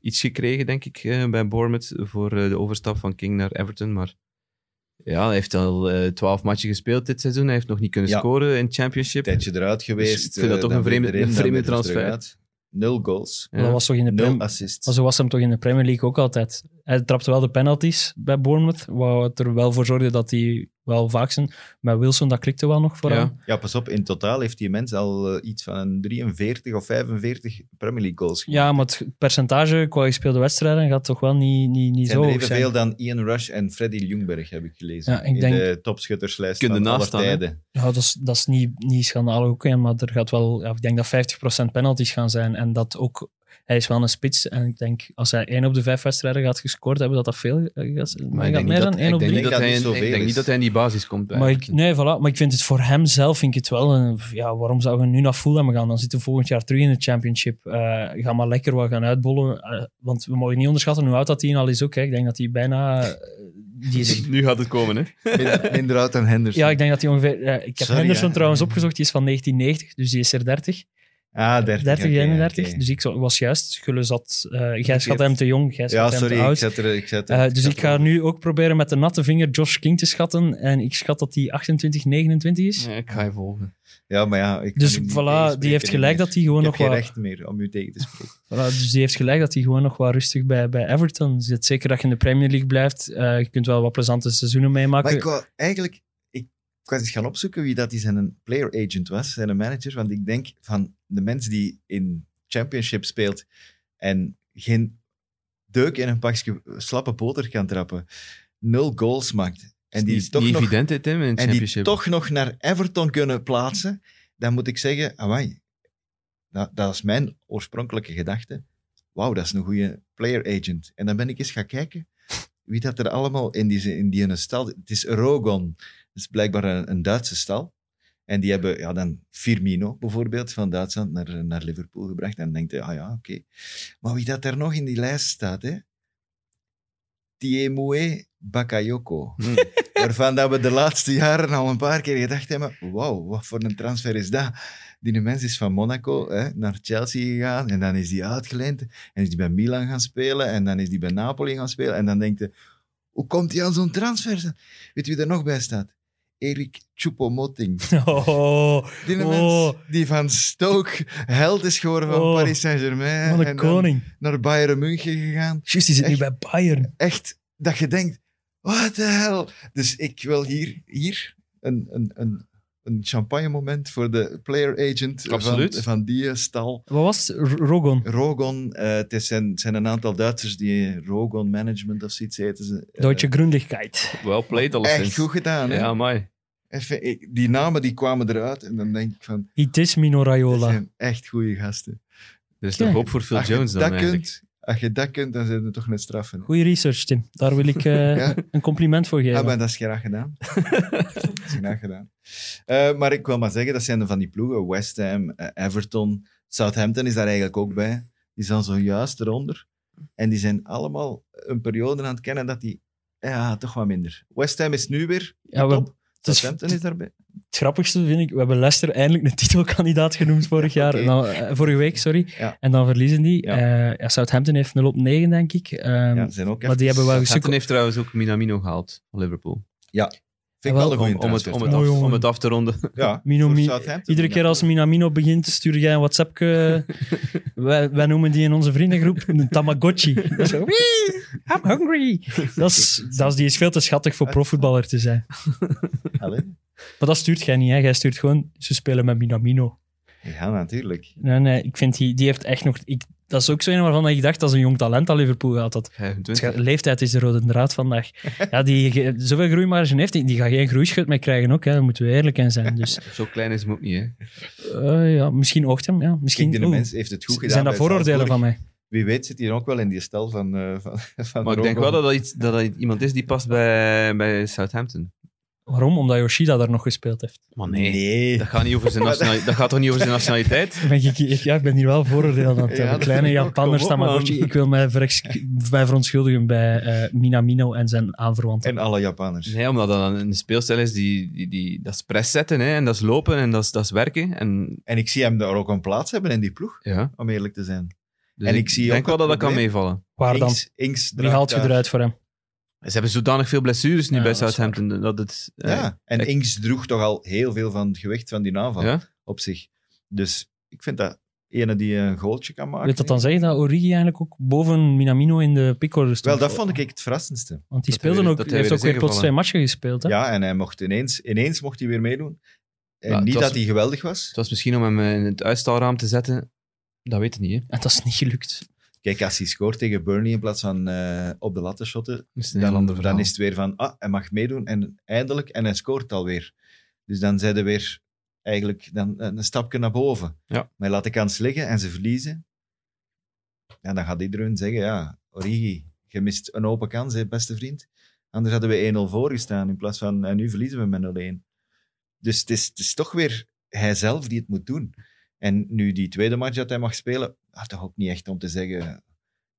iets gekregen, denk ik, eh, bij Bournemouth voor eh, de overstap van King naar Everton, maar... Ja, hij heeft al eh, twaalf matchen gespeeld dit seizoen. Hij heeft nog niet kunnen
Ja.
scoren in Championship.
tijdje eruit geweest.
Dus ik vind dat
eh,
toch
dan
een vreemde-
weer erin,
een
dan
vreemde
weer er terug
transfer.
uit. Nul goals,
Maar Dat was toch in de
nul
Prem-
assists.
maar zo was hem toch in de Premier League ook altijd. Hij trapte wel de penalties bij Bournemouth, wat er wel voor zorgde dat hij wel vaak zijn. Met Wilson, dat klikte wel nog vooral.
Ja.
Ja, pas op, in totaal heeft die mens al eh, iets van een 43 of 45 Premier League goals. gemaakt.
Ja, maar het percentage qua gespeelde wedstrijden gaat toch wel niet, niet, niet
zijn
zo
er
hoog zijn.
evenveel dan Ian Rush en Freddy Ljungberg, heb ik gelezen.
Ja, ik
in
denk-
de topschutterslijst
Kunnen
van alle
naast staan, hè?
tijden.
Ja, dat is, dat is niet, niet schandalig ook, hè, maar er gaat wel, ja, ik denk dat 50% penalties gaan zijn. En dat ook, hij is wel een spits. En ik denk, als hij 1 op de 5 wedstrijden gaat gescoord hebben, dat dat veel eh, gaat,
ik
gaat
denk
meer
niet dat-
dan 1
ik denk
op 3.
niet dat
Ik denk dat
hij-
niet zoveel
Ik denk
is.
niet dat hij in die basis komt.
Maar ik,
eigenlijk.
nee, voilà. maar ik vind het voor hem zelf vind ik het wel een... Ja, waarom zou je nu naar Fulham gaan? Dan zitten we volgend jaar terug in de championship. Eh, ga maar lekker wat gaan uitbollen. Eh, want we mogen niet onderschatten hoe oud dat hij al is ook. Hè. Ik denk dat hij bijna... eh, die is,
Nu gaat het komen, hè?
Minder, minder oud dan Henderson.
ja, ik denk dat hij ongeveer... eh, ik heb
Sorry,
Henderson
hè.
trouwens opgezocht. Die is van 1990, dus die is er 30.
ah,
30,
30.
31.
oké.
Dus ik zo- was juist... Gulle zat... eh Gijs had hem te jong, Gijs
Ja,
had hem te
sorry, ik
oud.
zet er... Ik zet er
Eh, dus
zet
ik
er-
ga nu ook proberen met de natte vinger Josh King te schatten. En ik schat dat hij 28, 29 is.
ik ga je volgen.
Ja, maar ja... Ik
Dus
kan u niet
voilà, die
tegenspreken
heeft gelijk
meer.
dat hij gewoon
Ik
nog
heb geen
wat...
recht meer om u tegen te spreken.
Voilà, dus die heeft gelijk dat hij gewoon nog wat rustig bij, bij Everton zit. Zeker dat je in de Premier League blijft. Eh, je kunt wel wat plezante seizoenen meemaken.
Maar ik wou eigenlijk... Ik, ik was eens gaan opzoeken wie dat die zijn player agent was, zijn manager. Want ik denk van de mens die in championship speelt en geen deuk in een pakje slappe boter kan trappen, nul goals maakt, en die
is
toch
Dus niet
nog
evident, hè, Tim, in het
en die
championship.
toch nog naar Everton kunnen plaatsen, dan moet ik zeggen, amai, dat, dat is mijn oorspronkelijke gedachte. Wauw, dat is een goede player agent. En dan ben ik eens gaan kijken wie dat er allemaal in die, in die ene stal... Het is Rogon, dat is blijkbaar een, een Duitse stal. En die hebben ja, dan Firmino bijvoorbeeld van Duitsland naar, naar Liverpool gebracht. En dan denkt hij, ah ja, oké. Maar wie dat er nog in die lijst staat, hè? Tiemue Bakayoko.
Hmm.
Waarvan dat we de laatste jaren al een paar keer gedacht hebben: wauw, wat voor een transfer is dat? Die mens is van Monaco hè, naar Chelsea gegaan en dan is die uitgeleend en is die bij Milan gaan spelen en dan is die bij Napoli gaan spelen. En dan denkt je: hoe komt hij aan zo'n transfer? Weet je wie er nog bij staat? Erik Choupo-Moting.
Oh,
Die mens
Oh.
die van Stoke held is geworden van
Oh.
Paris Saint-Germain.
wat een
en dan
koning.
naar Bayern München gegaan
Juist, die zit nu
echt?
bij Bayern.
echt dat je denkt, what the hell? Dus ik wil hier, hier een, een, een, een champagne moment voor de player agent van,
Absoluut.
van die eh, stal.
Wat was het? R- Rogon.
Rogon, eh, het is- zijn, zijn een aantal Duitsers die Rogon Management of zoiets heten. Ze, eh,
Deutsche Gründigkeit.
Well played, alleszins.
echt goed gedaan. Hè?
Ja, mooi.
Even, ik- die namen die kwamen eruit en dan denk ik van,
Het is Mino
dat
Raiola.
zijn echt goede gasten.
Er is
Ja.
toch hoop voor Phil
als je
Jones dan
dat
eigenlijk.
kunt, als je dat kunt, dan zijn er toch net straffen.
Goeie research, Tim. Daar wil ik eh,
Ja.
een compliment voor geven.
Ah, maar dat is graag gedaan. dat is graag gedaan. Eh, maar ik wil maar zeggen, dat zijn er van die ploegen. West Ham, eh, Everton, Southampton is daar eigenlijk ook bij. Die staan zojuist eronder. En die zijn allemaal een periode aan het kennen dat die... Ja, toch wat minder. West Ham is nu weer
Ja, we-
top.
het, is,
Southampton is daarbij.
het grappigste vind ik, we hebben Leicester eindelijk een titelkandidaat genoemd vorig jaar.
oké.
En dan, eh, vorige week, sorry.
Ja.
En dan verliezen die.
Ja.
Eh, ja, Southampton heeft 0 op 9, denk ik. Ehm,
Ja, ze zijn ook
maar die hebben wel
Sutton
gesukkeld.
heeft trouwens ook Minamino gehaald van Liverpool.
Vind ik wel
Wel,
een
Om,
goede
om, het, om, het
trouwens.
af,
Mooi,
om het af te ronden.
Ja,
Mino-
voor
Mi-
Southampton.
Iedere keer als Minamino begint, stuur jij een WhatsApp. wij, wij noemen die in onze vriendengroep een Tamagotchi. Dat is zo, "Wee, I'm hungry. Dat is, dat is, die is veel te schattig voor profvoetballer te zijn.
Allee.
Maar dat stuurt jij niet, hè? Jij stuurt gewoon, ze spelen met Minamino.
Ja, natuurlijk.
Nee, nee, ik vind die, die heeft echt nog... Ik, dat is ook zo een waarvan ik dacht dat is een jong talent aan Liverpool gehad had.
25.
De leeftijd is de rode draad vandaag. Ja, die ge- zoveel groeimarge heeft, die, die gaat geen groeischut meer krijgen ook, hè. daar moeten we eerlijk in zijn. Dus,
Zo klein is hem ook niet, hè.
eh, ja, misschien oogt hem, ja. Misschien,
Kijk, die
oeh,
mens heeft het goed gedaan.
zijn dat
bij
vooroordelen
Salzburg.
van mij?
Wie weet zit hij ook wel in die stel van... eh, van, van
Maar ik denk wel
Rogon.
dat dat, iets, dat dat iemand is die past bij, bij Southampton.
Waarom? Omdat Yoshida daar nog gespeeld heeft.
Maar nee,
Nee.
Dat, gaat niet over zijn nationali- dat gaat toch niet over zijn nationaliteit?
Ben ik, ik- ja, ik ben hier wel vooroordeel aan het
Ja,
hebben.
dat
Kleine
vind ik
Jan
ook.
Panders,
Kom op, man.
Tamagotchi. Ik wil mij, verex- mij verontschuldigen bij eh, Minamino en zijn aanverwanten.
En alle Japanners.
Nee, omdat dat een speelstijl is die, die, die... Dat is press zetten, hè. En dat is lopen en dat is, dat is werken. En
En ik zie hem daar ook een plaats hebben in die ploeg,
ja...
om eerlijk te zijn.
Dus
En ik zie
denk
ook het
wel dat dat kan
probleem.
meevallen.
Waar dan?
Ings, Ings
Wie
draagt
haalt je
daar-
eruit voor hem?
Ze hebben zodanig veel blessures nu
Ja,
bij
dat is
Southampton dat het... eh,
Ja, en Ings droeg toch al heel veel van het gewicht van die aanval
ja?
op zich. Dus ik vind dat ene die een goaltje kan maken.
Weet dat dan zeggen dat Origi eigenlijk ook boven Minamino in de pickorder
Wel,
stond?
dat vond ik het verrassendste.
Want die
dat hij
speelde
weer-
ook,
dat hij
heeft
weer
ook weer
is
plots
ingevallen.
twee matchen gespeeld. Hè?
eh, Ja, en hij mocht ineens, ineens mocht hij weer meedoen. En
Ja, het
niet
was-
dat hij geweldig was.
Het was misschien om hem eh, in het uitstalraam te zetten. Dat weet ik niet, hè.
En dat is niet gelukt.
Kijk, als hij scoort tegen Burnley in plaats van eh, op de latten shotten,
Dat is een heel
dan,
ander
dan
verhaal.
is het weer van, ah, hij mag meedoen en eindelijk, en hij scoort alweer. Dus dan zijn ze weer eigenlijk dan eh, een een stapje naar boven.
Ja.
Maar laat de kans liggen en ze verliezen. En dan gaat iedereen zeggen, ja, Origi, je mist een open kans, hè, beste vriend. Anders hadden we 1-0 voorgestaan in plaats van, en nu verliezen we met 0-1. Dus het is, het is toch weer hij zelf die het moet doen. En nu die tweede match dat hij mag spelen, ah, toch ook niet echt om te zeggen,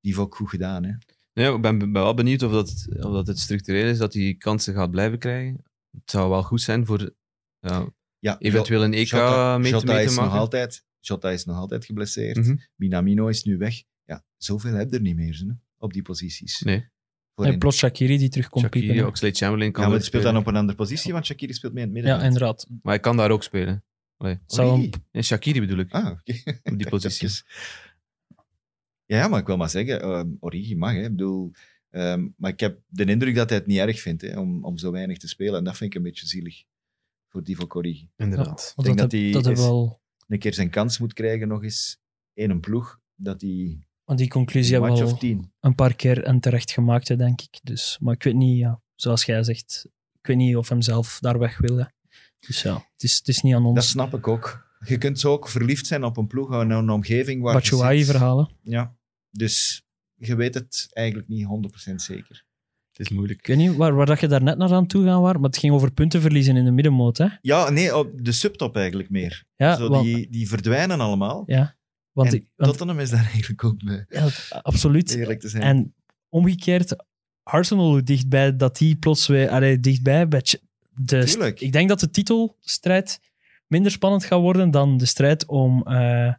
die heeft ook goed gedaan. Hè.
Nee, ik ben, ben wel benieuwd of dat, of dat het structureel is dat hij kansen gaat blijven krijgen. Het zou wel goed zijn voor ja,
Ja,
eventueel een EK
Jota,
mee, te,
Jota
mee
is
te
Nog
maken.
altijd, Jota is nog altijd geblesseerd.
Mhm.
Minamino is nu weg. Ja, zoveel heb je er niet meer hè, op die posities.
Nee.
Voorin.
En plots Shakiri die terug komt piepen.
Shaqiri,
hè.
Oxlade Chamberlain
ja,
kan
maar
ook
die speelt dan
spelen.
op een andere positie, want Shakiri speelt mee in het midden.
Ja, inderdaad.
Maar hij kan daar ook spelen.
Zou
Origi.
Nee, Shakiri bedoel ik,
Ah, oké.
op die positie.
Even. Ja, maar ik wil maar zeggen, ehm, Origi mag. Hè. Ik bedoel, ehm, maar ik heb de indruk dat hij het niet erg vindt hè, om, om zo weinig te spelen. En dat vind ik een beetje zielig voor Divo Origi.
Inderdaad.
Want
denk
dat
dat
heb-
die
dat heb
is-
wel...
Een keer zijn kans moet krijgen nog eens in een ploeg, dat hij
Want die conclusie
een
hebben
match
we
of
al
tien.
een paar keer en terecht gemaakt, hè, denk ik. Dus, maar ik weet niet, ja, zoals jij zegt, ik weet niet of hem zelf daar weg wil. hè. Dus ja, het is, het is niet aan
Dat
ons.
snap ik ook. Je kunt zo ook verliefd zijn op een ploeg, en een omgeving waar je zit.
Batshuayi-verhalen.
Ja. Dus je weet het eigenlijk niet 100% zeker.
Het is moeilijk.
Ik weet niet waar, waar dat je daar net naar aan toe gaan was, maar het ging over punten verliezen in de middenmoot. Hè?
Ja, nee, op de subtop eigenlijk meer.
Ja,
zo
want,
die, die verdwijnen allemaal.
ja, want,
en
ik- want-
Tottenham is daar eigenlijk ook bij,
ja, absoluut.
eerlijk te zijn.
En omgekeerd, Arsenal, hoe dichtbij dat die plots weer allee, dichtbij. bij Ch- de st-
Tuurlijk.
ik denk dat de titelstrijd minder spannend gaat worden dan de strijd om eh,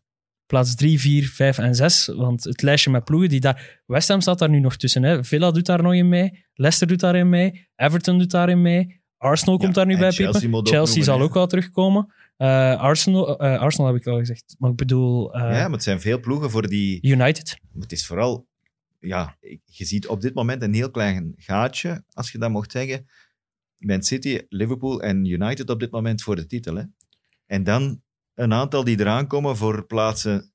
plaats 3, 4, 5 en 6. Want het lijstje met ploegen die daar. West Ham staat daar nu nog tussen. Hè. Villa doet daar nog in mee. Leicester doet daarin mee. Everton doet daarin mee. Arsenal komt
Ja,
daar nu
en
bij
Chelsea
piepen.
moet ook
Chelsea
noemen,
zal
hè.
ook wel terugkomen. Eh, Arsenal, eh, Arsenal heb ik al gezegd. Maar ik bedoel, eh,
ja, maar het zijn veel ploegen voor die...
United.
maar Het is vooral... Ja, ik- je ziet op dit moment een heel klein gaatje, als je dat mocht zeggen, Man City, Liverpool en United op dit moment voor de titel. Hè? En dan een aantal die eraan komen voor plaatsen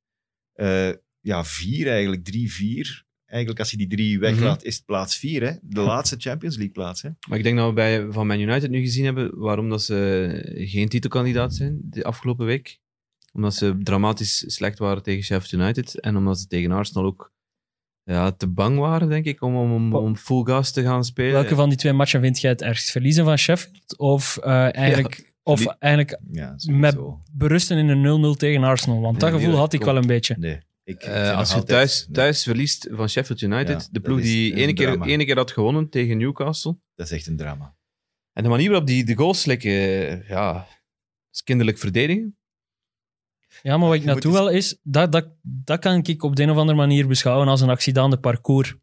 eh, ja, vier eigenlijk, drie, vier. Eigenlijk als je die
Mhm.
drie weglaat, is het plaats vier. Hè? De laatste Champions League plaats. Hè?
Maar ik denk dat we bij, van Man United nu gezien hebben waarom dat ze geen titelkandidaat zijn de afgelopen week. Omdat ze dramatisch slecht waren tegen Sheffield United. En omdat ze tegen Arsenal ook ja, te bang waren, denk ik, om, om, om, om full gas te gaan
Eh,
spelen.
Welke van die twee matchen vind jij het ergst? Verliezen van Sheffield of, eh, eigenlijk, of
die-
eigenlijk
Ja,
Met-
sowieso.
berusten in een 0-0 tegen Arsenal? Want dat
Nee,
gevoel
die-
had ik wel een beetje.
Nee. Ik, ik
Eh,
vind
als
nog
je
altijd-
thuis, thuis verliest van Sheffield United,
Ja,
de ploeg
dat is
die
een
ene keer,
drama.
ene keer had gewonnen tegen Newcastle.
Dat is echt een drama.
En de manier waarop die de goals slikken, eh, ja, is kinderlijk verdedigen.
Ja, maar wat ik
Je moet
naartoe
eens-
wil is, dat, dat, dat kan ik op de een of andere manier beschouwen als een accidente parcours.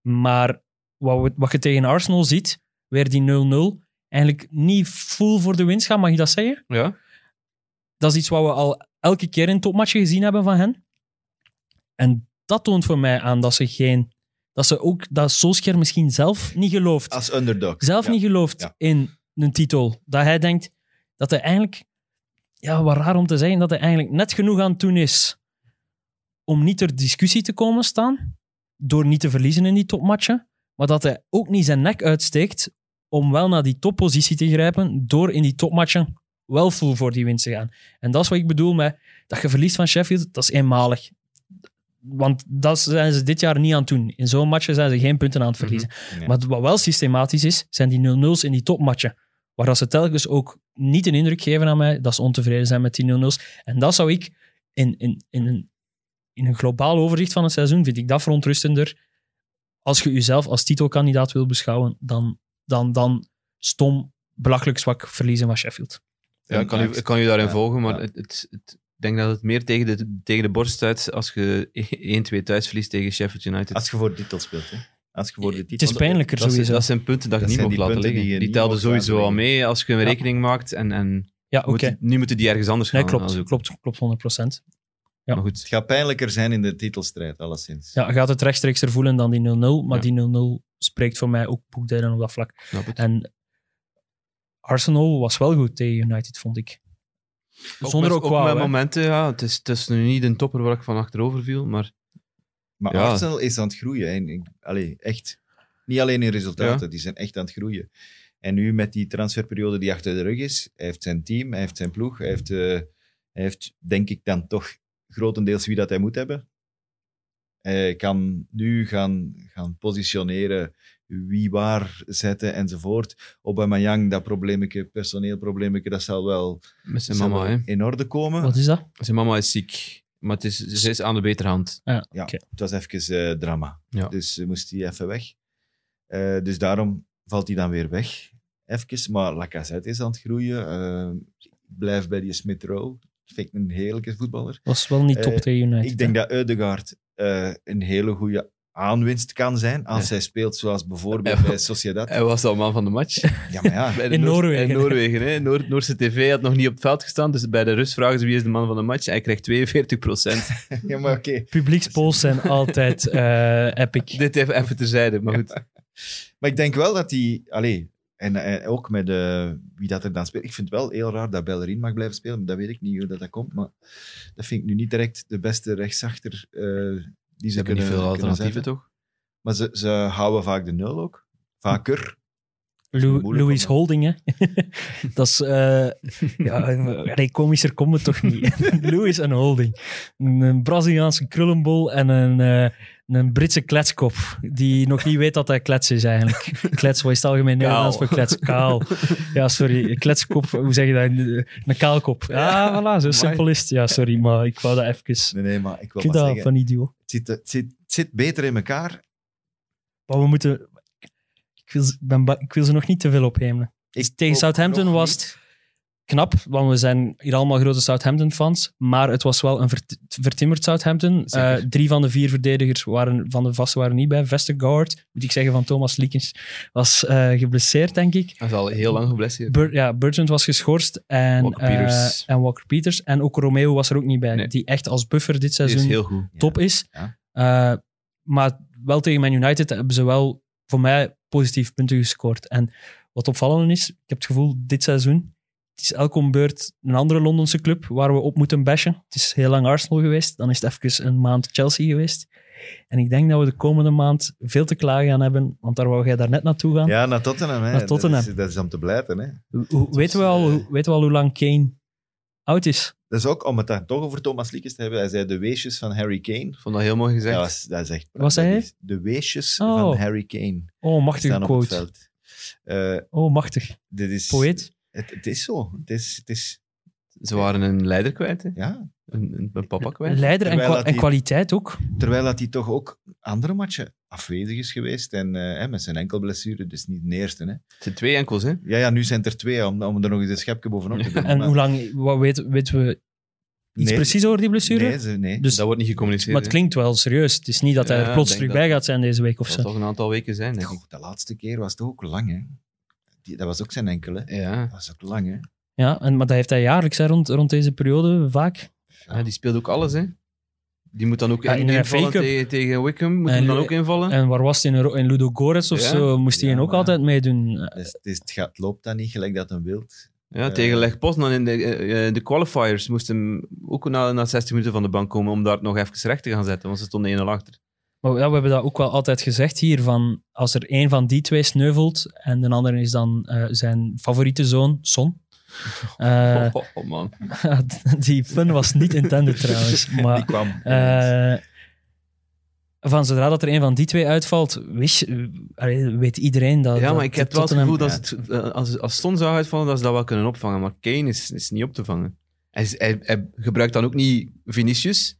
Maar wat, we- wat je tegen Arsenal ziet, weer die 0-0, eigenlijk niet full voor de winst gaan, mag je dat zeggen?
Ja.
Dat is iets wat we al elke keer in topmatchen gezien hebben van hen. En dat toont voor mij aan dat ze geen... Dat ze ook, dat Solskjaer misschien zelf niet gelooft
Als underdog.
zelf
Ja.
niet gelooft
Ja.
in een titel. Dat hij denkt dat hij eigenlijk, ja, wat raar om te zeggen, dat hij eigenlijk net genoeg aan het doen is om niet ter discussie te komen staan, door niet te verliezen in die topmatchen, maar dat hij ook niet zijn nek uitsteekt om wel naar die toppositie te grijpen, door in die topmatchen wel full voor die winst te gaan. En dat is wat ik bedoel met dat je verliest van Sheffield, dat is eenmalig. Want dat zijn ze dit jaar niet aan het doen. In zo'n matchen zijn ze geen punten aan het verliezen.
Ja.
Maar wat wel systematisch is, zijn die 0-0's in die topmatchen. Waar dat ze telkens ook niet een indruk geven aan mij dat ze ontevreden zijn met die 0-0's. En dat zou ik in, in, in, een, in een globaal overzicht van het seizoen, vind ik dat verontrustender. Als je jezelf als titelkandidaat wil beschouwen, dan, dan, dan stom, belachelijk zwak verliezen van Sheffield.
Ja, ik kan, u,
Echt.
ik kan u daarin
Ja,
volgen, maar
ja.
het, het, het- ik denk dat het meer tegen de, tegen de borst uit als je 1-2 thuis verliest tegen Sheffield United.
Als je voor de titel speelt. Hè? Als je voor de
Eh, Het
titel
is pijnlijker
dat, zijn-
sowieso.
dat zijn punten dat je
Dat
niet
zijn
mocht
die
laten
punten
liggen.
die je
Die,
niet
telden
mocht laten
sowieso al
liggen.
mee als je een
Ja.
rekening maakt. En, en
ja, oké.
moeten- nu moeten die ergens anders gaan.
Nee, klopt,
aanzoeken.
klopt, klopt 100%. ja.
Maar goed,
Het gaat pijnlijker zijn in de titelstrijd, alleszins.
Ja, je gaat het rechtstreeks er voelen dan die 0-0,
Ja.
maar die 0-0 spreekt voor mij ook boekdelen op dat vlak.
snap het.
En Arsenal was wel goed tegen United, vond ik.
Ook
Zonder
met-
ook,
ook
wauw,
met
hè.
momenten, ja. Het is, het is nu niet een topper waar ik van achterover viel, maar
Maar
Ja.
Arsenal is aan het groeien. hè. En, ik- allee, echt. Niet alleen in resultaten, die zijn echt aan het groeien. En nu met die transferperiode die achter de rug is, hij heeft zijn team, hij heeft zijn ploeg, hij heeft, eh, hij heeft denk ik dan toch grotendeels wie dat hij moet hebben. Hij kan nu gaan, gaan positioneren, wie waar zetten enzovoort. Aubameyang, dat probleemetje, personeelprobleemetje, dat zal wel,
met zijn
zal
mama,
wel
hè.
in orde komen.
Wat is dat?
Zijn mama is ziek, maar het is, ze is aan de betere hand.
Ah,
Ja,
oké.
het was even eh, drama.
Ja.
Dus eh, moest hij even weg. Eh, dus daarom valt hij dan weer weg. Even, maar Lacazette is aan het groeien. Eh, ik blijf bij die Smith Rowe. Vind ik een heerlijke voetballer.
was wel niet top
Eh,
tegen United.
Ik denk dat Eudegaard eh, een hele goede aanwinst kan zijn als
Ja.
hij speelt zoals bijvoorbeeld
Ja.
bij Sociedad.
Hij was al man van de match.
Ja, maar ja.
Bij de
In
Noors-
Noorwegen.
In Noorwegen, hè. Noor- Noorse tv had nog niet op het veld gestaan, dus bij de Rus vragen ze wie is de man van de match. Hij krijgt 42 procent.
ja, maar oké.
Publiekspools zijn altijd eh, epic.
Dit even, even terzijde, maar goed.
Maar ik denk wel dat die... Allee, en, en ook met eh, wie dat er dan speelt. Ik vind het wel heel raar dat Bellerin mag blijven spelen. maar Dat weet ik niet hoe dat, dat komt. Maar dat vind ik nu niet direct de beste rechtsachter eh, die
Ze
ze kunnen,
hebben niet veel
kunnen
alternatieven,
zetten.
toch?
Maar ze, ze houden vaak de nul ook. Vaker.
Lou-
moeilijk
Louis
om-
Holding, hè. dat is... eh, ja, eh, nee, komischer komt het toch niet. Louis en Holding. Een, een Braziliaanse krullenbol en een, eh, een Britse kletskop. Die nog niet weet dat hij klets is, eigenlijk. Klets, wat is het algemeen Nederlands voor klets? Kaal. Ja, sorry. Kletskop, hoe zeg je dat? Een kaalkop. Ja, voilà, zo simpel is het. Ja, sorry, maar ik wou dat even...
Nee, nee, maar ik wil
Ik vind
maar
dat
zeggen,
van idio.
het, zit, het, zit, het zit beter in elkaar.
Maar we moeten... Ik wil, ze- ben ba- ik wil ze nog niet te veel ophemelen.
Ik
Tegen
ook
Southampton
nog
was
niet.
het knap, want we zijn hier allemaal grote Southampton-fans. Maar het was wel een vert- vertimmerd Southampton.
Zeker.
Eh, drie van de vier verdedigers waren, van de vaste waren niet bij. Vestergaard, moet ik zeggen, van Thomas Liekens, was eh, geblesseerd, denk ik.
Hij is al heel lang geblesseerd.
Bur- ja, Bertrand was geschorst en
Walker
eh,
Peters.
en Walker Peters. En ook Romeo was er ook niet bij,
Nee.
die echt als buffer dit
Hij is
seizoen
heel goed.
top is.
Ja.
Eh, maar wel tegen Man United hebben ze wel voor mij positief punten gescoord. En Wat opvallend is, ik heb het gevoel, dit seizoen, het is elke ombeurt een andere Londense club waar we op moeten bashen. Het is heel lang Arsenal geweest, dan is het even een maand Chelsea geweest. En ik denk dat we de komende maand veel te klagen gaan hebben, want daar wou jij daarnet naartoe gaan.
Ja, naar Tottenham. Hè.
Naar Tottenham.
Dat, is, dat is om te blijten. Hè.
Hoe- weten, we al,
eh,
hoe- weten we al hoe lang Kane oud is?
Dat is ook om het dan toch over Thomas Liekes te hebben. Hij zei de weesjes van Harry Kane.
Ik vond dat heel mooi gezegd.
Dat, was, dat is echt
Wat zei hij?
prachtig. De weesjes
Oh.
van Harry Kane
Oh, machtige
staan op het
quote.
veld. Eh,
Oh, machtig.
dit is,
Poëet.
Het, het is zo. Het is, het is,
Ze waren een leider kwijt, hè.
ja.
Een, een, een papa kwijt.
Leider en,
Terwijl
kwa-
dat
en
die-
kwaliteit ook.
Terwijl dat hij toch ook andere matchen afwezig is geweest. En eh, hè, met zijn enkelblessure, dus niet de eerste. Hè.
Het zijn twee enkels, hè.
Ja, ja, nu zijn het er twee, om, om er nog eens een schepje bovenop te doen.
En
maar-
hoe lang, wat weten, weten we iets
Nee,
precies over die blessure?
Nee, ze- nee.
dus,
dat wordt niet gecommuniceerd.
maar het klinkt wel serieus. Het is niet dat hij
Ja,
er plots
ik
terug
denk
bij
dat-
gaat zijn deze week of
Dat
zo.
zal toch een aantal weken zijn, denk ik.
Goh, de laatste keer was het ook lang, hè. Die, dat was ook zijn enkele.
Ja.
Dat was ook lang, hè.
Ja, en, maar dat heeft hij jaarlijks hè, rond, rond deze periode vaak.
Ja, die speelt ook alles, hè. Die moet dan ook
Ja, in
in-
de
invallen
FA Cup.
tegen, tegen Wickham. Moet
En
hem dan
Lu-
ook invallen.
En waar was het in, Euro- in Ludo Goretz of
Ja,
zo? Moest hij
ja,
hen ook
maar-
altijd meedoen?
Dus, het is- het gaat, loopt dan niet gelijk dat een wild.
ja,
eh,
tegen Leg Poznan in de, eh, eh, de qualifiers moest hem ook na, na 60 minuten van de bank komen om daar nog even recht te gaan zetten, want ze stonden 1-0 achter.
Maar ja, we hebben dat ook wel altijd gezegd hier, van als er één van die twee sneuvelt en de andere is dan eh, zijn favoriete zoon, Son. Eh,
oh, oh, man.
die fun was niet intended trouwens. Maar
Die kwam.
Eh, van zodra dat er een van die twee uitvalt, wist je- allee, weet iedereen dat.
ja,
dat
maar ik heb wel het
Tottenham-
gevoel dat ze het, eh, als, als Son zou uitvallen, dat ze dat wel kunnen opvangen. Maar Kane is, is niet op te vangen. Hij, is- hij, hij gebruikt dan ook niet Vinicius,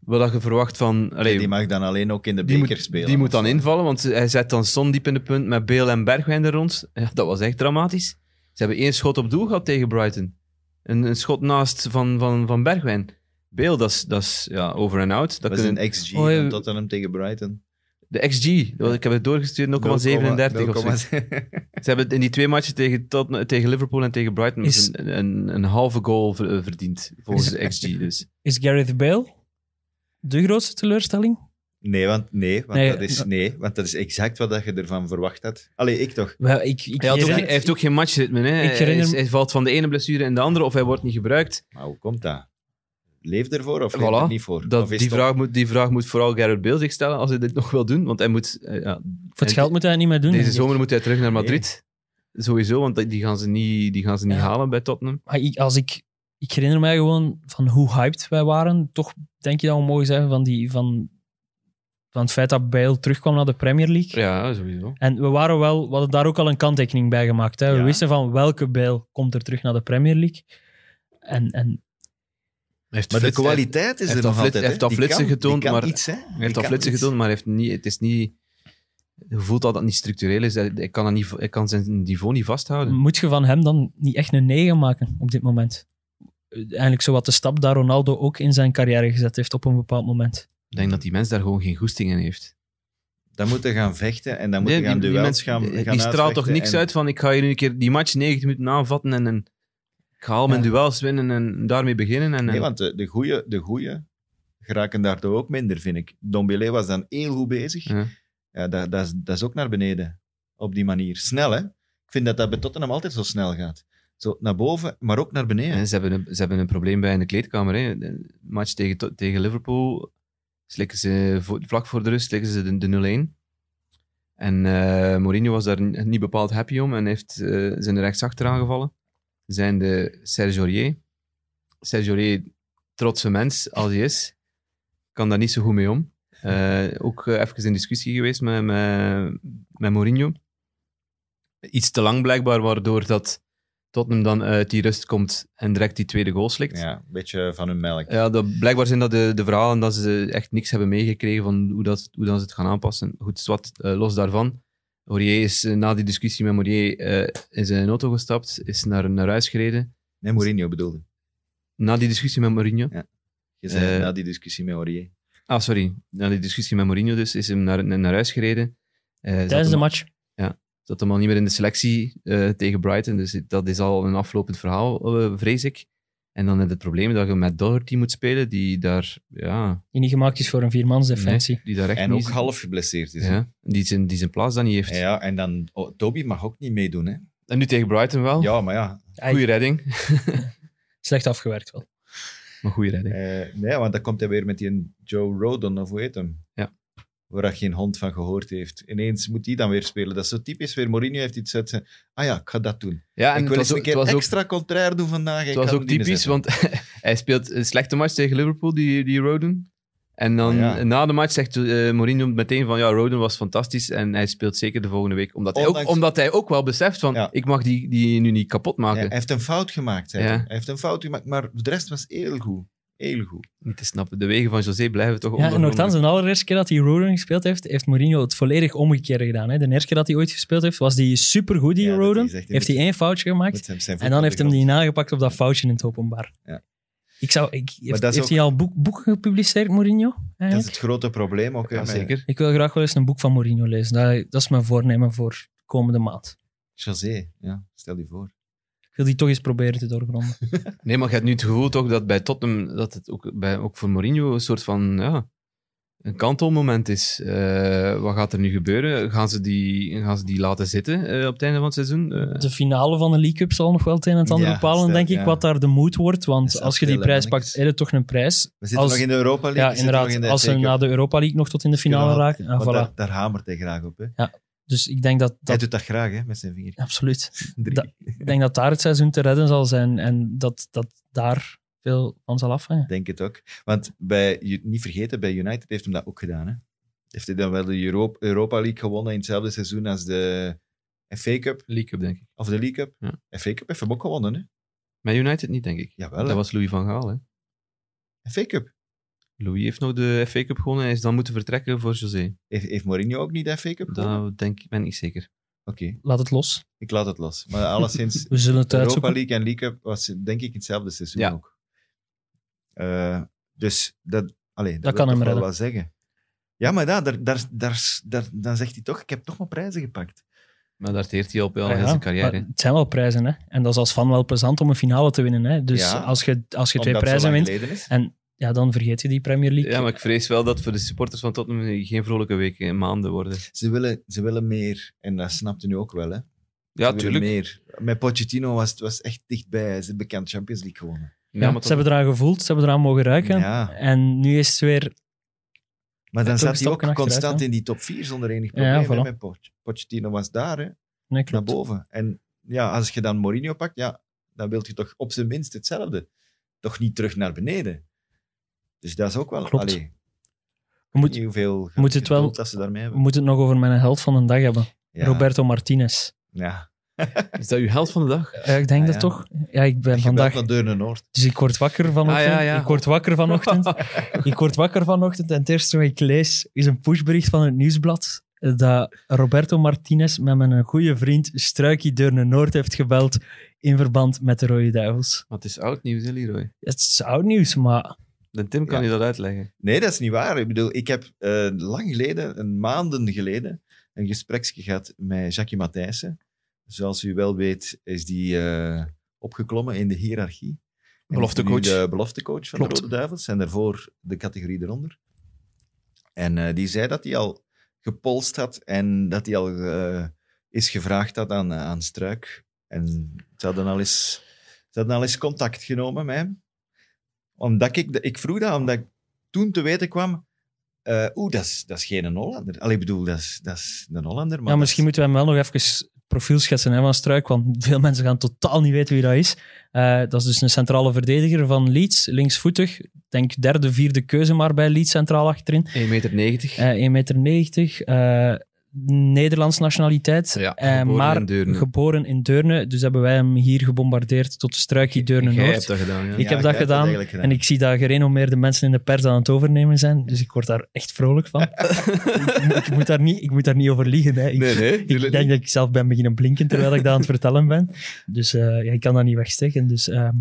wat dat je verwacht van... allee,
die mag dan alleen ook in de
die
beker
moet,
spelen.
die moet
of
dan
zo.
invallen, want hij zet dan Son diep in de punt met Beel en Bergwijn er rond. Ja, dat was echt dramatisch. Ze hebben één schot op doel gehad tegen Brighton. Een, een schot naast van, van, van Bergwijn. Beel, dat is- dat is ja, over en out. Dat
Dat is e-
kunnen-
een XG
Oh, ja.
van Tottenham tegen Brighton.
De XG, dat- ik heb het doorgestuurd, 0,37 of zo.
0,7.
Ze hebben in die twee matchen tegen, Tot- tegen Liverpool en tegen Brighton
Is-
een, een, een halve goal ver- eh, verdiend, volgens de XG dus.
Is Gareth Bale de grootste teleurstelling?
Nee, want, nee, want
Nee,
dat is,
dat-
nee, want dat is exact wat dat je ervan verwacht had. Allee, ik toch.
Wel, ik, ik,
Hij, had ook,
herinner-
geen- hij heeft ook geen matchritme. Hè.
Ik herinner
Hij is-
me-
hij valt van de ene blessure in de andere of hij wordt niet gebruikt.
Maar hoe komt dat? Leef ervoor of leef
Voilà,
er niet voor?
Dat,
Of is
die,
het
vraag moet, die vraag moet vooral Gerrit Beel zich stellen als hij dit nog wil doen. Want hij moet, eh, ja,
voor het geld moet hij het niet meer doen.
deze
denk ik.
zomer moet hij terug naar Madrid. Sowieso, want die gaan ze niet, die gaan ze niet
Ja.
halen bij Tottenham.
Maar ik, als ik, ik herinner mij gewoon van hoe hyped wij waren. Toch denk je dat we mogen zeggen van, die, van, van het feit dat Bale terugkwam naar de Premier League.
Ja, sowieso.
En we waren wel, we hadden daar ook al een kanttekening bij gemaakt. Hè. We
Ja.
wisten van welke Bale komt er terug naar de Premier League. En, en
Heeft
Maar de
flits-
kwaliteit is
heeft
er
al
nog
flit-
altijd. hè.
heeft al
Die
flitsen
kan- die
getoond,
kan
maar-
Iets, hè.
Hij
Die
heeft al
kan
flitsen
iets.
getoond, maar hij heeft niet, het is niet... Je voelt dat dat niet structureel is. Hij, hij kan, dat niet, hij kan zijn niveau niet
Hm.
vasthouden.
moet je van hem dan niet echt een 9 maken op dit moment? Eigenlijk zo wat de stap daar Ronaldo ook in zijn carrière gezet heeft op een bepaald moment.
Ik denk dat die mens daar gewoon geen goesting in heeft.
Dan moeten gaan vechten en dan moeten
Nee,
gaan
die- die
duels
mens-
gaan,
die-
gaan
Die straalt toch
uitvechten
niks
en-
uit van ik ga hier nu een keer die match 90 minuten aanvatten en, en ik ga al mijn
Ja.
duels winnen en daarmee beginnen. En,
Nee,
en-
want de, de goeie, de goeie geraken daardoor ook minder, vind ik. Dombele was dan heel goed bezig.
Ja.
Ja. dat, dat, is, dat is ook naar beneden, op die manier. Snel, hè? Ik vind dat dat bij Tottenham altijd zo snel gaat. Zo naar boven, maar ook naar beneden.
En ze, hebben een, ze hebben een probleem bij in de kleedkamer. Hè. De match tegen, to- tegen Liverpool slikken ze vo- vlak voor de rust slikken ze de, de 0-1. En eh, Mourinho was daar n- niet bepaald happy om en heeft eh, zijn rechtsachter aangevallen. Zijn de Serge Aurier. Serge Aurier, trotse mens als hij is, kan daar niet zo goed mee om. Eh, ook eh, even in discussie geweest met, met, met Mourinho. Iets te lang blijkbaar, waardoor dat Tottenham dan uit die rust komt en direct die tweede goal slikt.
Ja, een beetje van hun melk.
Ja, dat, blijkbaar zijn dat de, de verhalen dat ze echt niks hebben meegekregen van hoe, dat, hoe dat ze het gaan aanpassen. Goed, zwart, eh, los daarvan. Aurier is eh, na die discussie met Morier in zijn auto gestapt, is naar, naar huis gereden.
Nee, Mourinho bedoelde.
Na die discussie met Mourinho...
Je zei
Eh.
na die discussie met Aurier.
Ah, sorry. Na die discussie met Mourinho dus, is hem naar, naar huis gereden. Eh, zat
Tijdens de
hem-
match.
zat hem al niet meer in de selectie eh, tegen Brighton. Dus dat is al een aflopend verhaal, eh, vrees ik. En dan heb je het probleem dat je met Doherty moet spelen, die daar, ja,
Die niet gemaakt is voor een viermansdefensie.
die daar echt
En
niet...
ook half geblesseerd is. hè.
Ja, die zijn, die zijn plaats dan niet heeft.
Ja, en dan, oh, Toby mag ook niet meedoen. Hè?
En nu tegen Brighton wel.
Ja, maar ja.
Goeie redding.
Slecht afgewerkt wel.
Maar goede redding.
eh, nee, want dan komt hij weer met die Joe Rodon, of hoe heet hem?
Ja.
Waar hij geen hond van gehoord heeft. Ineens moet hij dan weer spelen. Dat is zo typisch weer. Mourinho heeft iets uit zijn... Ah ja, ik ga dat doen. ik
Ja, en het
wil
was
eens een
ook, het
keer
was ook,
extra contrair doen vandaag.
het was ook typisch, want hij speelt een slechte match tegen Liverpool, die, die Roden. En dan
Ah, ja.
na de match zegt eh, Mourinho meteen van ja, Roden was fantastisch en hij speelt zeker de volgende week. Omdat, hij,
Ondanks-
ook, omdat hij ook wel beseft van
Ja.
ik mag die, die nu niet kapot
Ja,
maken.
hij heeft een fout gemaakt. zei
Ja.
hij. Hij heeft een fout gemaakt, maar de rest was heel goed. Heel goed.
Niet te snappen. De wegen van José blijven toch
Ja, en nogthans,
ondoorgrondelijk.
de allereerste keer dat hij Roden gespeeld heeft, heeft Mourinho het volledig omgekeerde gedaan. Hè. De eerste keer dat hij ooit gespeeld heeft, was die supergoed, die
Ja, dat is
Roden.
echt niet
Heeft hij één foutje gemaakt.
Met zijn- zijn
En dan heeft hem
voetbalgrond.
die nagepakt op dat foutje in het openbaar.
Ja.
Ik zou, ik, heeft
dat is
heeft
ook-
hij al boek, boeken gepubliceerd, Mourinho?
Dat
eigenlijk?
is het grote probleem ook. hè,
Ja,
met
zeker.
Ik wil graag wel eens een boek van Mourinho lezen. Dat, dat is mijn voornemen voor komende maand.
José, ja, stel je voor.
Ik wil die toch eens proberen te doorgronden.
Nee, maar je hebt nu het gevoel toch dat bij Tottenham, dat het ook, bij, ook voor Mourinho een soort van, ja, een kantelmoment is. Eh, wat gaat er nu gebeuren? Gaan ze die, gaan ze die laten zitten eh, op het einde van het seizoen? Eh,
De finale van de League Cup zal nog wel het een en het ander
Ja,
bepalen,
stel-
denk ik,
ja.
wat daar de moed wordt. Want
Dat
als je die
stelt
prijs
helemaal
pakt,
niks.
is het toch een prijs.
We zitten
Als-
nog in de Europa League.
Ja,
we zitten nog
inderdaad.
in de
Als ze
FA Cup.
na de Europa League nog tot in de finale
Kunnen we
raken. ah,
Want
voilà.
daar, daar hamert hij graag op. Hè.
Dus ik denk dat...
Hij
dat
doet dat graag hè, met zijn vinger.
absoluut.
Drie.
Dat- Ik denk dat daar het seizoen te redden zal zijn en dat, dat daar veel van zal afhangen.
Denk het ook. Want bij, U- niet vergeten, bij United heeft hem dat ook gedaan. Hè. Heeft hij dan wel de Euro- Europa League gewonnen in hetzelfde seizoen als de FA Cup
League Cup, denk ik.
of de League Cup?
Ja.
FA Cup heeft hem ook gewonnen. Hè.
Met United niet, denk ik.
Jawel.
Dat
hè.
was Louis van Gaal, hè.
FA Cup.
Louis heeft nog de FA Cup gewonnen en is dan moeten vertrekken voor José.
Heeft, heeft Mourinho ook niet de FA Cup gewonnen?
Dat denk, ik- ben ik niet zeker.
Oké,
Laat het los.
ik laat het los. Maar alleszins,
We zullen het
Europa
uitzoeken.
League en League Cup was denk ik hetzelfde seizoen
Ja.
ook. Eh, dus dat, allee, dat,
kan
wil toch
hem
wel
redden.
wat zeggen. Ja, maar daar, daar, daar, daar, daar- dan zegt hij toch, ik heb toch mijn prijzen gepakt.
Maar daar teert hij al wel
Ah, Ja,
heel zijn
maar
carrière.
het zijn wel prijzen, hè. En dat is als fan wel plezant om een finale te winnen, hè. Dus
Ja,
als je, als je twee
Omdat het zo
prijzen
lang
wint,
geleden is.
ja, dan vergeet je die Premier League.
Ja, maar ik vrees wel dat voor de supporters van Tottenham geen vrolijke weken en maanden worden.
Ze willen, ze willen meer. En dat snapt u nu ook wel, hè? Ze
Ja,
willen
tuurlijk.
Meer. Met Pochettino was het was echt dichtbij. Ze hebben bekend Champions League gewonnen.
Ja,
Ja,
maar
ze hebben eraan gevoeld, ze hebben eraan mogen ruiken.
Ja.
En nu is het weer...
Maar dan
toch een
zat hij
stapje
ook
achteruit,
constant
hè?
in die top 4 zonder enig
Ja,
probleem. hè,
voilà.
met Poch- Pochettino was daar, hè?
Nee,
naar
klopt.
boven. En ja, als je dan Mourinho pakt, ja, dan wil je toch op zijn minst hetzelfde. Toch niet terug naar beneden. Dus dat is ook wel...
Klopt.
Allee, ik
We,
weet
moet,
niet hoeveel
moet het wel-
geduld dat ze daarmee
we
hebben.
moeten het nog over mijn held van de dag hebben.
Ja,
Roberto Martinez.
Ja.
Is dat uw held van de dag?
Ja, ik denk
Ah,
dat
ja.
toch. Ja, ik ben
Vandaag...
vandaag...
naar Deurne Noord.
Dus ik word wakker vanochtend.
Ah, ja, ja.
Ik word wakker vanochtend. ik word wakker vanochtend en het eerste wat ik lees is een pushbericht van het nieuwsblad eh, dat Roberto Martinez met mijn goede vriend Struikie Deurne Noord heeft gebeld in verband met de Rode Duivels.
Want het is oud nieuws, hè, Leroy?
Het is oud nieuws, maar
Dan Tim kan
Ja.
je dat uitleggen.
Nee, dat is niet waar. Ik bedoel, ik heb eh, lang geleden, een maanden geleden, een gespreksje gehad met Jackie Matthijssen. Zoals u wel weet, is die eh, opgeklommen in de hiërarchie. En
Beloftecoach.
is nu De beloftecoach van
Klopt.
de Rode Duivels. En daarvoor de categorie eronder. En eh, die zei dat hij al gepolst had en dat hij al eh, is gevraagd had aan, eh, aan Struik. En ze hadden al eens, ze hadden al eens contact genomen met hem. Omdat ik, ik vroeg dat omdat ik toen te weten kwam... eh Oeh, dat is, dat is geen Hollander. Allee, ik bedoel, dat is, dat is een Hollander. Maar
ja,
dat
misschien
is-
moeten we hem wel nog even profiel schetsen hè, van Struik, want veel mensen gaan totaal niet weten wie dat is. Eh, dat is dus een centrale verdediger van Leeds, linksvoetig. Denk derde, vierde keuze maar bij Leeds centraal achterin.
1,90 meter.
Eh 1,90 meter, eh, Nederlands nationaliteit,
Ja,
eh,
geboren
maar
in Deurne.
geboren in Deurne. Dus hebben wij hem hier gebombardeerd tot de struikie
Jij hebt
Deurne-Noord.
dat gedaan, ja.
Ik heb
jij
dat
hebt
gedaan
eigenlijk
En ik zie dat gerenommeerde mensen in de pers aan het overnemen zijn. Dus ik word daar echt vrolijk van. ik, moet- ik moet daar niet, ik moet daar niet over liegen. Hè. Ik,
Nee, nee.
ik
tuurlijk
denk
niet.
dat ik zelf ben beginnen blinken terwijl ik dat aan het vertellen ben. Dus eh, ja, ik kan dat niet wegsteken. Dus ehm,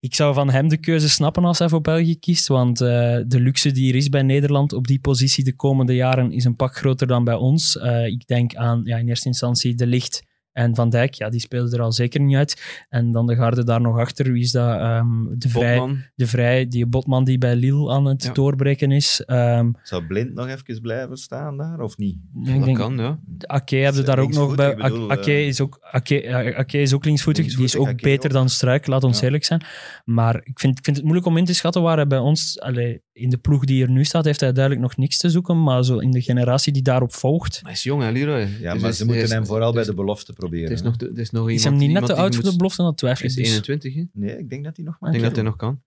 ik zou van hem de keuze snappen als hij voor België kiest. Want eh, de luxe die er is bij Nederland op die positie de komende jaren is een pak groter dan bij ons. Eh, ik denk aan ja, in eerste instantie De Licht En Van Dijk, ja, die speelde er al zeker niet uit. En dan de garde daar nog achter. Wie is dat? Ehm, de, Vrij,
Botman.
de Vrij, die botman die bij Lille aan het
Ja.
doorbreken is. Ehm
Zou Blind nog even blijven staan daar, of niet?
ik
Dat
denk-
kan, ja.
Ake hebben daar ook nog
Linksvoetig,
bij.
ik bedoel,
Ake
eh,
is ook, Ake, ja, Ake is ook linksvoetig. Die is
Linksvoetig,
ook
Ake
beter
ook.
dan Struik, laat ons
Ja.
eerlijk zijn. Maar ik vind, ik vind het moeilijk om in te schatten waar hij bij ons, allee, in de ploeg die er nu staat, heeft hij duidelijk nog niks te zoeken. Maar zo in de generatie die daarop volgt,
Hij is jong, hè, Leroy.
Ja,
Dus
maar
is-
ze moeten
is-
hem vooral bij
is-
de belofte proberen.
Er is
hè.
nog, de- er is nog iemand,
is hem niet net
iemand
te
die
oud voor
moet-
de belofte, dat twijfel
Hij
ik.
is
Dus. Ah,
21, hè. Ik
Nee, ik denk dat hij nog maar...
denk dat
kan.
hij nog kan.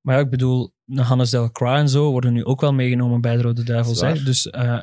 Maar ja, ik bedoel, Hannes Del Cra en zo worden nu ook wel meegenomen bij de Rode Duivels.
Dat is
Hè?
waar.
Dus eh,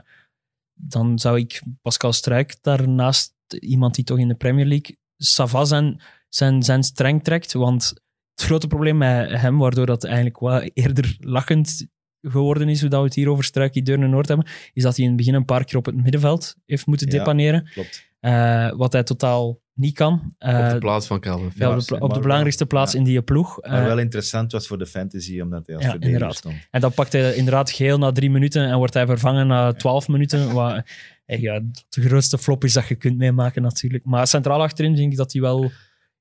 dan zou ik Pascal Struik daarnaast iemand die toch in de Premier League Sava zijn, zijn, zijn streng trekt. Want het grote probleem met hem, waardoor dat eigenlijk wel eerder lachend geworden is, hoe dat we het hier over Struik die Deurne Noord hebben, is dat hij in het begin een paar keer op het middenveld heeft moeten
Ja.
depaneren.
Klopt.
eh, wat hij totaal niet kan.
Op
Eh,
de plaats van Calvin
ja, op
Phillips.
de,
maar
op de
wel-
belangrijkste plaats
ja.
in die ploeg.
Maar
Eh,
wel interessant was voor de fantasy, omdat hij als
Ja,
verdediger
inderdaad.
stond.
En dan pakt hij inderdaad geel na drie minuten en wordt hij vervangen na twaalf minuten. Wat eh, ja, de grootste flop is dat je kunt meemaken natuurlijk. Maar centraal achterin denk ik dat hij wel...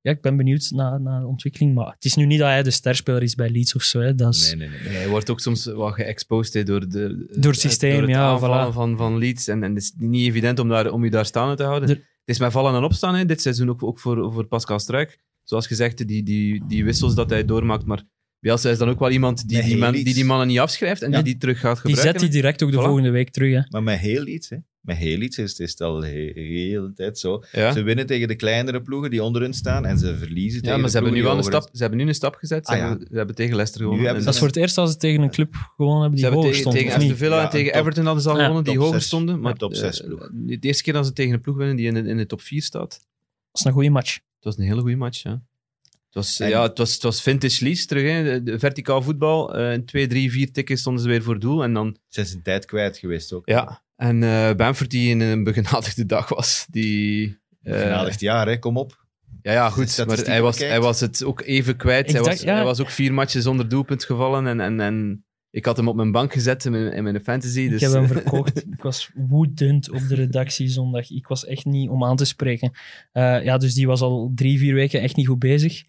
Ja, ik ben benieuwd naar, naar de ontwikkeling. Maar het is nu niet dat hij de sterspeler is bij Leeds of zo. Hè. Dat is,
Nee, nee, nee.
Ja, hij wordt ook soms wat geëxposed hè, door, de,
Door het systeem,
door
ja,
aanvallen
voilà.
van, van Leeds. En, en het is niet evident om, daar, om je daar staande te houden.
Er-
Het is met vallen en opstaan hè, dit seizoen ook, ook voor, voor Pascal Struik. Zoals gezegd, die, die, die wissels dat hij doormaakt. Maar Bielsa is dan ook wel iemand die
Nee,
die, man-
Leeds.
die, die mannen niet afschrijft en
Ja.
die die terug gaat
die
gebruiken.
zet hij direct ook de
Voilà.
volgende week terug. Hè.
Maar met heel iets, hè. Met heel iets is het- is het al de he- hele tijd zo.
ja.
Ze winnen tegen de kleinere ploegen die onder hun staan en ze verliezen
Ja,
tegen
maar
de
ze hebben, nu
ploegen
wel een
die
stap,
over
ze hebben nu een stap gezet. Ze,
Ah, ja.
hebben, ze hebben tegen Leicester gewonnen.
hebben
En
Dat is
ze-
voor het eerst als ze tegen een club gewoon hebben
Ze
die
hebben
hoger
tegen,
stond.
tegen
of
Aston
niet?
Villa
Ja,
en tegen
top-
Everton hadden ze al
Ja,
gewonnen, die
top
hoger
zes.
stonden. Maar
Ja, top
eh,
zes ploeg.
de eerste keer dat ze tegen een ploeg winnen die in, de- in de top 4 staat.
Dat is een goede match.
Het was een hele goede match, ja. Het was,
En-
ja, het was, het was vintage lease terug, hè. De- de verticaal voetbal. eh, in twee, drie, vier tikken stonden ze weer voor doel. En dan,
zijn. Ze zijn tijd kwijt geweest ook.
ja. En eh Bamford, die in een begenadigde dag was, die... eh,
Genadigd jaar, hè. Kom op.
ja, ja,
Als je de
goed. Maar
statistieken
hij was,
bekijkt.
hij was het ook even kwijt.
Ik
Hij,
dacht,
was,
ja.
hij was ook vier matchen zonder doelpunt gevallen. En, en, en ik had hem op mijn bank gezet in mijn, in mijn fantasy. Dus,
Ik heb hem verkocht. ik was woedend op de redactie zondag. Ik was echt niet om aan te spreken. Eh, ja, dus die was al drie, vier weken echt niet goed bezig.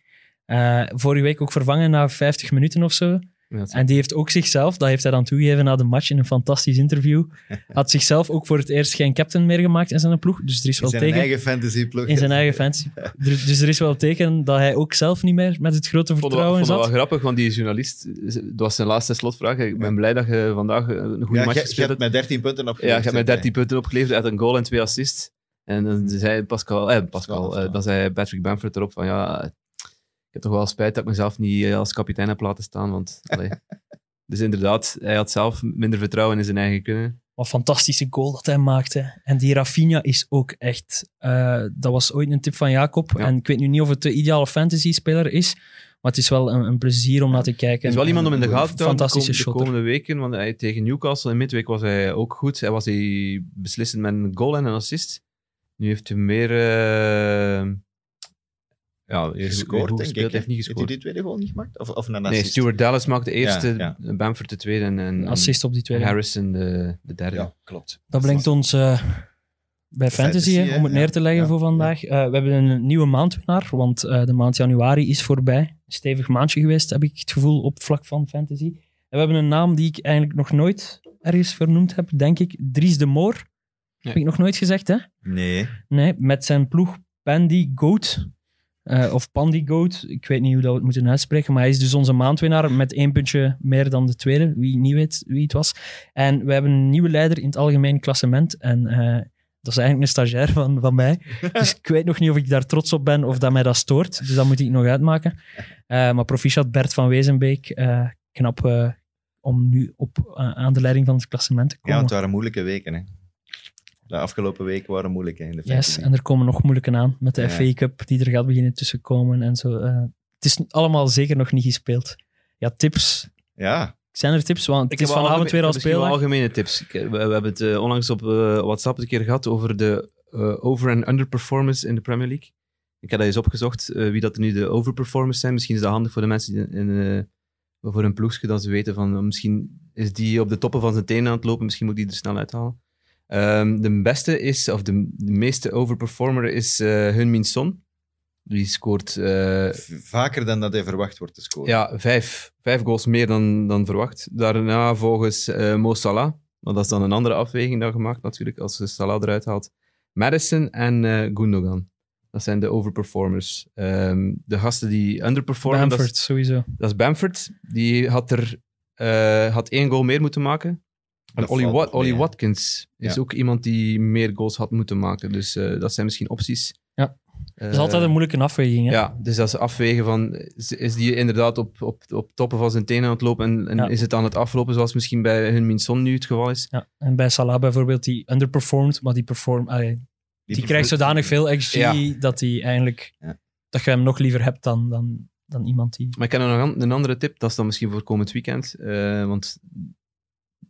Eh, vorige week ook vervangen na 50 minuten of zo.
Ja, het-
En die heeft ook zichzelf, dat heeft hij dan toegegeven na de match in een fantastisch interview, had zichzelf ook voor het eerst geen captain meer gemaakt in zijn ploeg. Dus er is
In
wel
zijn
tegen.
eigen fantasyploeg.
In zijn eigen fancy. Er- Dus er is wel teken dat hij ook zelf niet meer met het grote
Ik vond het wel-
vertrouwen
ik vond het
zat.
wel grappig, want die journalist, eh, dat was zijn laatste slotvraag. Ik ben blij dat je vandaag een goede
Ja,
match
je- je
gespeeld
hebt
hebt.
met 13 punten opgeleverd.
Ja, ik heb mij 13 punten opgeleverd. Hij had een goal en twee assists. En dan zei Pascal, eh, Pascal
Pascal.
eh, dat zei Patrick Bamford erop van ja, ik heb toch wel spijt dat ik mezelf niet eh, als kapitein heb laten staan. Want, allee. dus inderdaad, hij had zelf minder vertrouwen in zijn eigen kunnen.
Wat een fantastische goal dat hij maakte. En die Rafinha is ook echt... eh, dat was ooit een tip van Jacob.
Ja.
En ik weet nu niet of het de ideale fantasy-speler is, maar het is wel een, een plezier om naar te kijken.
Er is wel iemand om in de gaten te houden de kom-
Fantastische
de
shotter.
komende weken. Want hij, tegen Newcastle in midweek was hij ook goed. Hij was hij beslissend met een goal en een assist. Nu heeft hij meer... eh, ja,
Gescoord,
gescoord,
denk
gespeeld,
ik.
Hij heeft niet
Heeft hij
gescoord.
die tweede goal niet gemaakt? Of, of een
Nee,
assist?
Stuart Dallas maakt de eerste,
Ja,
Bamford de tweede en, en-
Een Assist op die
en
tweede.
Harrison de, de derde.
Ja, klopt.
Dat brengt ons eh, bij fantasy,
Fantasy,
hè,
hè?
om het
Ja,
neer te leggen
ja,
voor vandaag. Eh, we hebben een nieuwe maandwinnaar, want eh, de maand januari is voorbij. Een stevig maandje geweest, heb ik het gevoel, op vlak van fantasy. En we hebben een naam die ik eigenlijk nog nooit ergens vernoemd heb, denk ik. Dries de Moor.
Nee.
Heb ik nog nooit gezegd, hè?
Nee.
Nee, met zijn ploeg Pandy Goat. Eh, of Pandy Goat. Ik weet niet hoe dat we het moeten uitspreken. Maar hij is dus onze maandwinnaar met één puntje meer dan de tweede. Wie niet weet wie het was. En we hebben een nieuwe leider in het algemeen klassement. En eh, dat is eigenlijk een stagiair van, van mij. Dus ik weet nog niet of ik daar trots op ben of dat mij dat stoort. Dus dat moet ik nog uitmaken. Eh, maar proficiat Bert van Wezenbeek. eh, knap eh, om nu op, eh, aan de leiding van het klassement te
Ja,
komen.
want het waren moeilijke weken, hè. De afgelopen weken waren moeilijk hè, in de
Yes,
fantasy.
en er komen nog moeilijke aan met de
Ja.
FA Cup die er gaat beginnen tussenkomen en zo. Eh, het is allemaal zeker nog niet gespeeld. Ja, tips.
Ja,
Zijn er tips? Want
heb
het is
wel
vanavond
algemeen-
weer al
misschien wel
speeldag.
algemene tips. Ik- We, we hebben het eh, onlangs op eh, WhatsApp een keer gehad over de eh, over- en underperformance in de Premier League. Ik heb dat eens opgezocht, eh, wie dat er nu de overperformers zijn. Misschien is dat handig voor de mensen die in, eh, voor hun ploegje, dat ze weten van eh, misschien is die op de toppen van zijn tenen aan het lopen, misschien moet die er snel uithalen. Ehm, de beste is, of de, de meeste overperformer is eh Hunmin Son. Die scoort eh,
V- Vaker dan dat hij verwacht wordt te scoren.
ja, vijf, vijf goals meer dan, dan verwacht. Daarna volgens eh Mo Salah. Maar dat is dan een andere afweging dan gemaakt natuurlijk, als ze Salah eruit haalt. Madison en eh Gundogan. Dat zijn de overperformers. Ehm, de gasten die underperformen, dat is-
Bamford, sowieso.
dat is Bamford. Die had er eh, had één goal meer moeten maken. En
Dat
Ollie,
valt
Wa-
nog mee,
Ollie
hè.
Watkins is
Ja.
ook iemand die meer goals had moeten maken. Dus eh, dat zijn misschien opties.
Ja.
Eh,
Dat is altijd een moeilijke afweging. Hè?
ja, dus dat ze afwegen van, is- is die inderdaad op, op, op toppen van zijn tenen aan het lopen en, en
Ja.
is het aan het aflopen zoals misschien bij hun Son nu het geval is?
Ja. En bij Salah bijvoorbeeld, die underperformed, maar die, perform, allee, die, krijgt
perfor-
zodanig veel XG
Ja.
dat hij eigenlijk
Ja.
dat je hem nog liever hebt dan, dan, dan iemand die...
Maar ik heb nog een- een andere tip, dat is dan misschien voor komend weekend. eh, want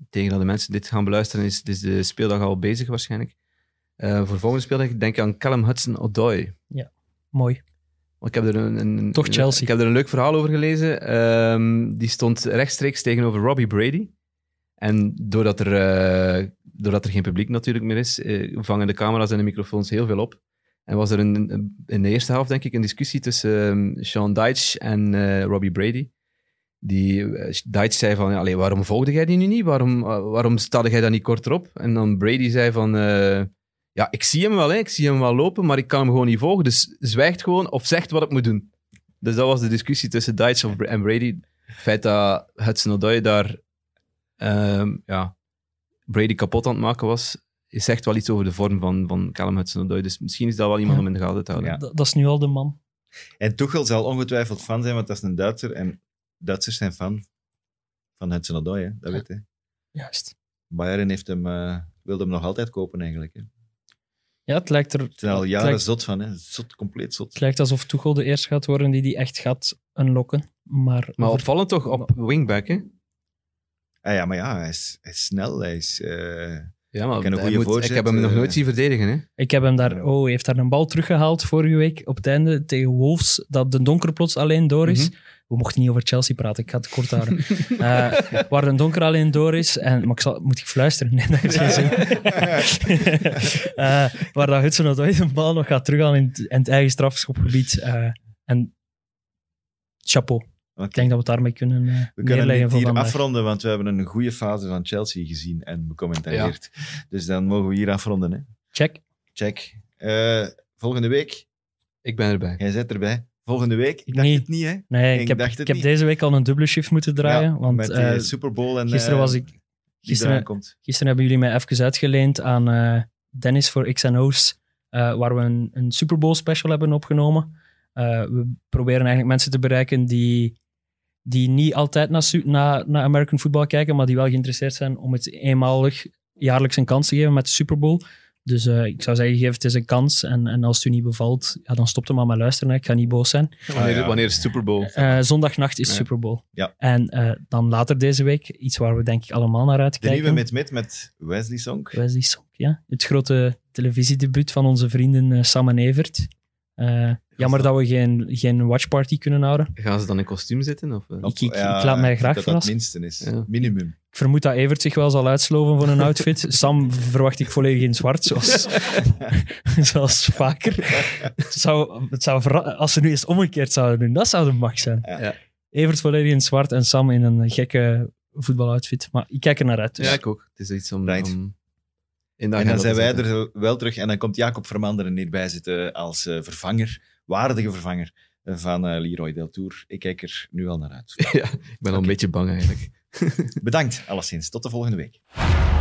tegen dat de mensen dit gaan beluisteren, is, is de speeldag al bezig waarschijnlijk. Eh, voor volgende speeldag denk ik aan Callum Hudson-Odoi.
Mooi.
Want Ik heb er een, een,
Toch
een-
Chelsea.
Ik heb er een leuk verhaal over gelezen. Ehm, die stond rechtstreeks tegenover Robbie Brady. En doordat er, eh, doordat er geen publiek natuurlijk meer is, eh, vangen de camera's en de microfoons heel veel op. En was er een, een- in de eerste helft, denk ik, een discussie tussen ehm, Sean Dyche en eh, Robbie Brady. Die eh, Dyche zei van, ja, allee, waarom volgde jij die nu niet? Waarom, wa- waarom stelde jij dat niet korter op? En dan Brady zei van, eh, ja, ik zie hem wel, hè. ik zie hem wel lopen, maar ik kan hem gewoon niet volgen. Dus zwijgt gewoon of zegt wat ik moet doen. Dus dat was de discussie tussen Dites of- en Brady. Het feit dat Hudson-Odoi daar ehm, ja, Brady kapot aan het maken was, is echt wel iets over de vorm van, van Callum Hudson-Odoi. Dus misschien is dat wel iemand
Ja.
om in de gaten te houden.
Ja.
Dat, dat is nu al de man.
En Tuchel zal ongetwijfeld fan zijn, want dat is een Duitser. En Duitsers zijn fan van Hudson Odoi, hè. dat weet je.
Juist.
Bayern heeft hem, eh, wilde hem nog altijd kopen eigenlijk. Hè. Ze
Ja, het lijkt er...
zijn al
het
jaren
lijkt-
zot van, hè. Zot, compleet
Het
zot.
lijkt alsof Tuchel de eerste gaat worden die die echt gaat unlocken. Maar,
Maar opvallend toch op wingback, hè?
Ah ja, maar ja, hij is, hij is snel, hij is... eh,
Ja, maar
Ik ken een
hij
goede
moet- ik
voorzet,
heb hem nog
eh.
nooit zien verdedigen, hè?
ik heb hem daar... Oh, hij heeft daar een bal teruggehaald vorige week op het einde tegen Wolves, dat de donker plots alleen door is.
Mhm.
We mochten niet over Chelsea praten, ik ga het kort houden. Eh, waar de donker alleen door is, en, maar ik zal, moet ik fluisteren? Nee, dat heeft geen zin. Eh, waar dat Hudson Odoi de bal nog gaat terughalen in het, in het eigen strafschopgebied. eh, en chapeau.
Oké.
Ik denk dat we het daarmee kunnen eh,
We kunnen
neerleggen
het
voor
hier
vandaag.
afronden, want we hebben een goede fase van Chelsea gezien en becommentarieerd. Dus dan mogen we hier afronden. Hè.
Check.
Check. Eh, volgende week,
Ik ben erbij.
jij zit erbij. Volgende week, ik
Ik
dacht
niet.
het niet, hè?
Nee, ik,
Ik
heb,
dacht het
ik heb
niet.
deze week al een dubbele shift moeten draaien.
Ja,
want
met die
eh,
Super Bowl en
gisteren
eh,
was ik...
die eraan
Gisteren,
komt.
gisteren hebben jullie mij even uitgeleend aan eh, Dennis voor X&O's, eh, waar we een, een Super Bowl special hebben opgenomen. Eh, we proberen eigenlijk mensen te bereiken die, die niet altijd naar, su- naar, naar American football kijken, maar die wel geïnteresseerd zijn om het eenmalig jaarlijks een kans te geven met de Super Bowl. Dus eh, ik zou zeggen, geef het eens een kans. En, en als het u niet bevalt, ja, dan stop er maar met luisteren. hè. Ik ga niet boos zijn.
Wanneer,
Ah, ja.
wanneer is Super Bowl?
Eh, zondagnacht is
Ja.
Super Bowl.
Ja.
En eh, dan later deze week, iets waar we denk ik allemaal naar
De
uitkijken.
nieuwe met met met Wesley Song.
Wesley Sonk, ja. Het grote televisiedebuut van onze vrienden eh, Sam en Evert. Eh, jammer dat we geen, geen watchparty kunnen houden.
Gaan ze dan in kostuum zitten? Of, eh?
Of,
ik- ik laat mij graag
dat Dat het
verrassen.
minste is.
Ja.
Minimum.
Ik vermoed dat Evert zich wel zal uitsloven voor een outfit. Sam verwacht ik volledig in zwart, zoals, zoals vaker. Het zou, het zou verra- als ze nu eens omgekeerd zouden doen, dat zou de max zijn.
Ja.
Evert volledig in zwart en Sam in een gekke voetbaloutfit. Maar ik kijk er naar uit. Dus.
Ja, ik ook. Het is iets om...
Right.
om in de
En
agenda
Nou,
dan
te
zijn wij
zetten.
er wel terug. En dan komt Jacob Vermanderen hierbij zitten als eh, vervanger, waardige vervanger eh, van eh, Leroy Deltour. Ik kijk er nu al naar uit.
Ik ben al een beetje bang eigenlijk.
Bedankt, alleszins. Tot de volgende week.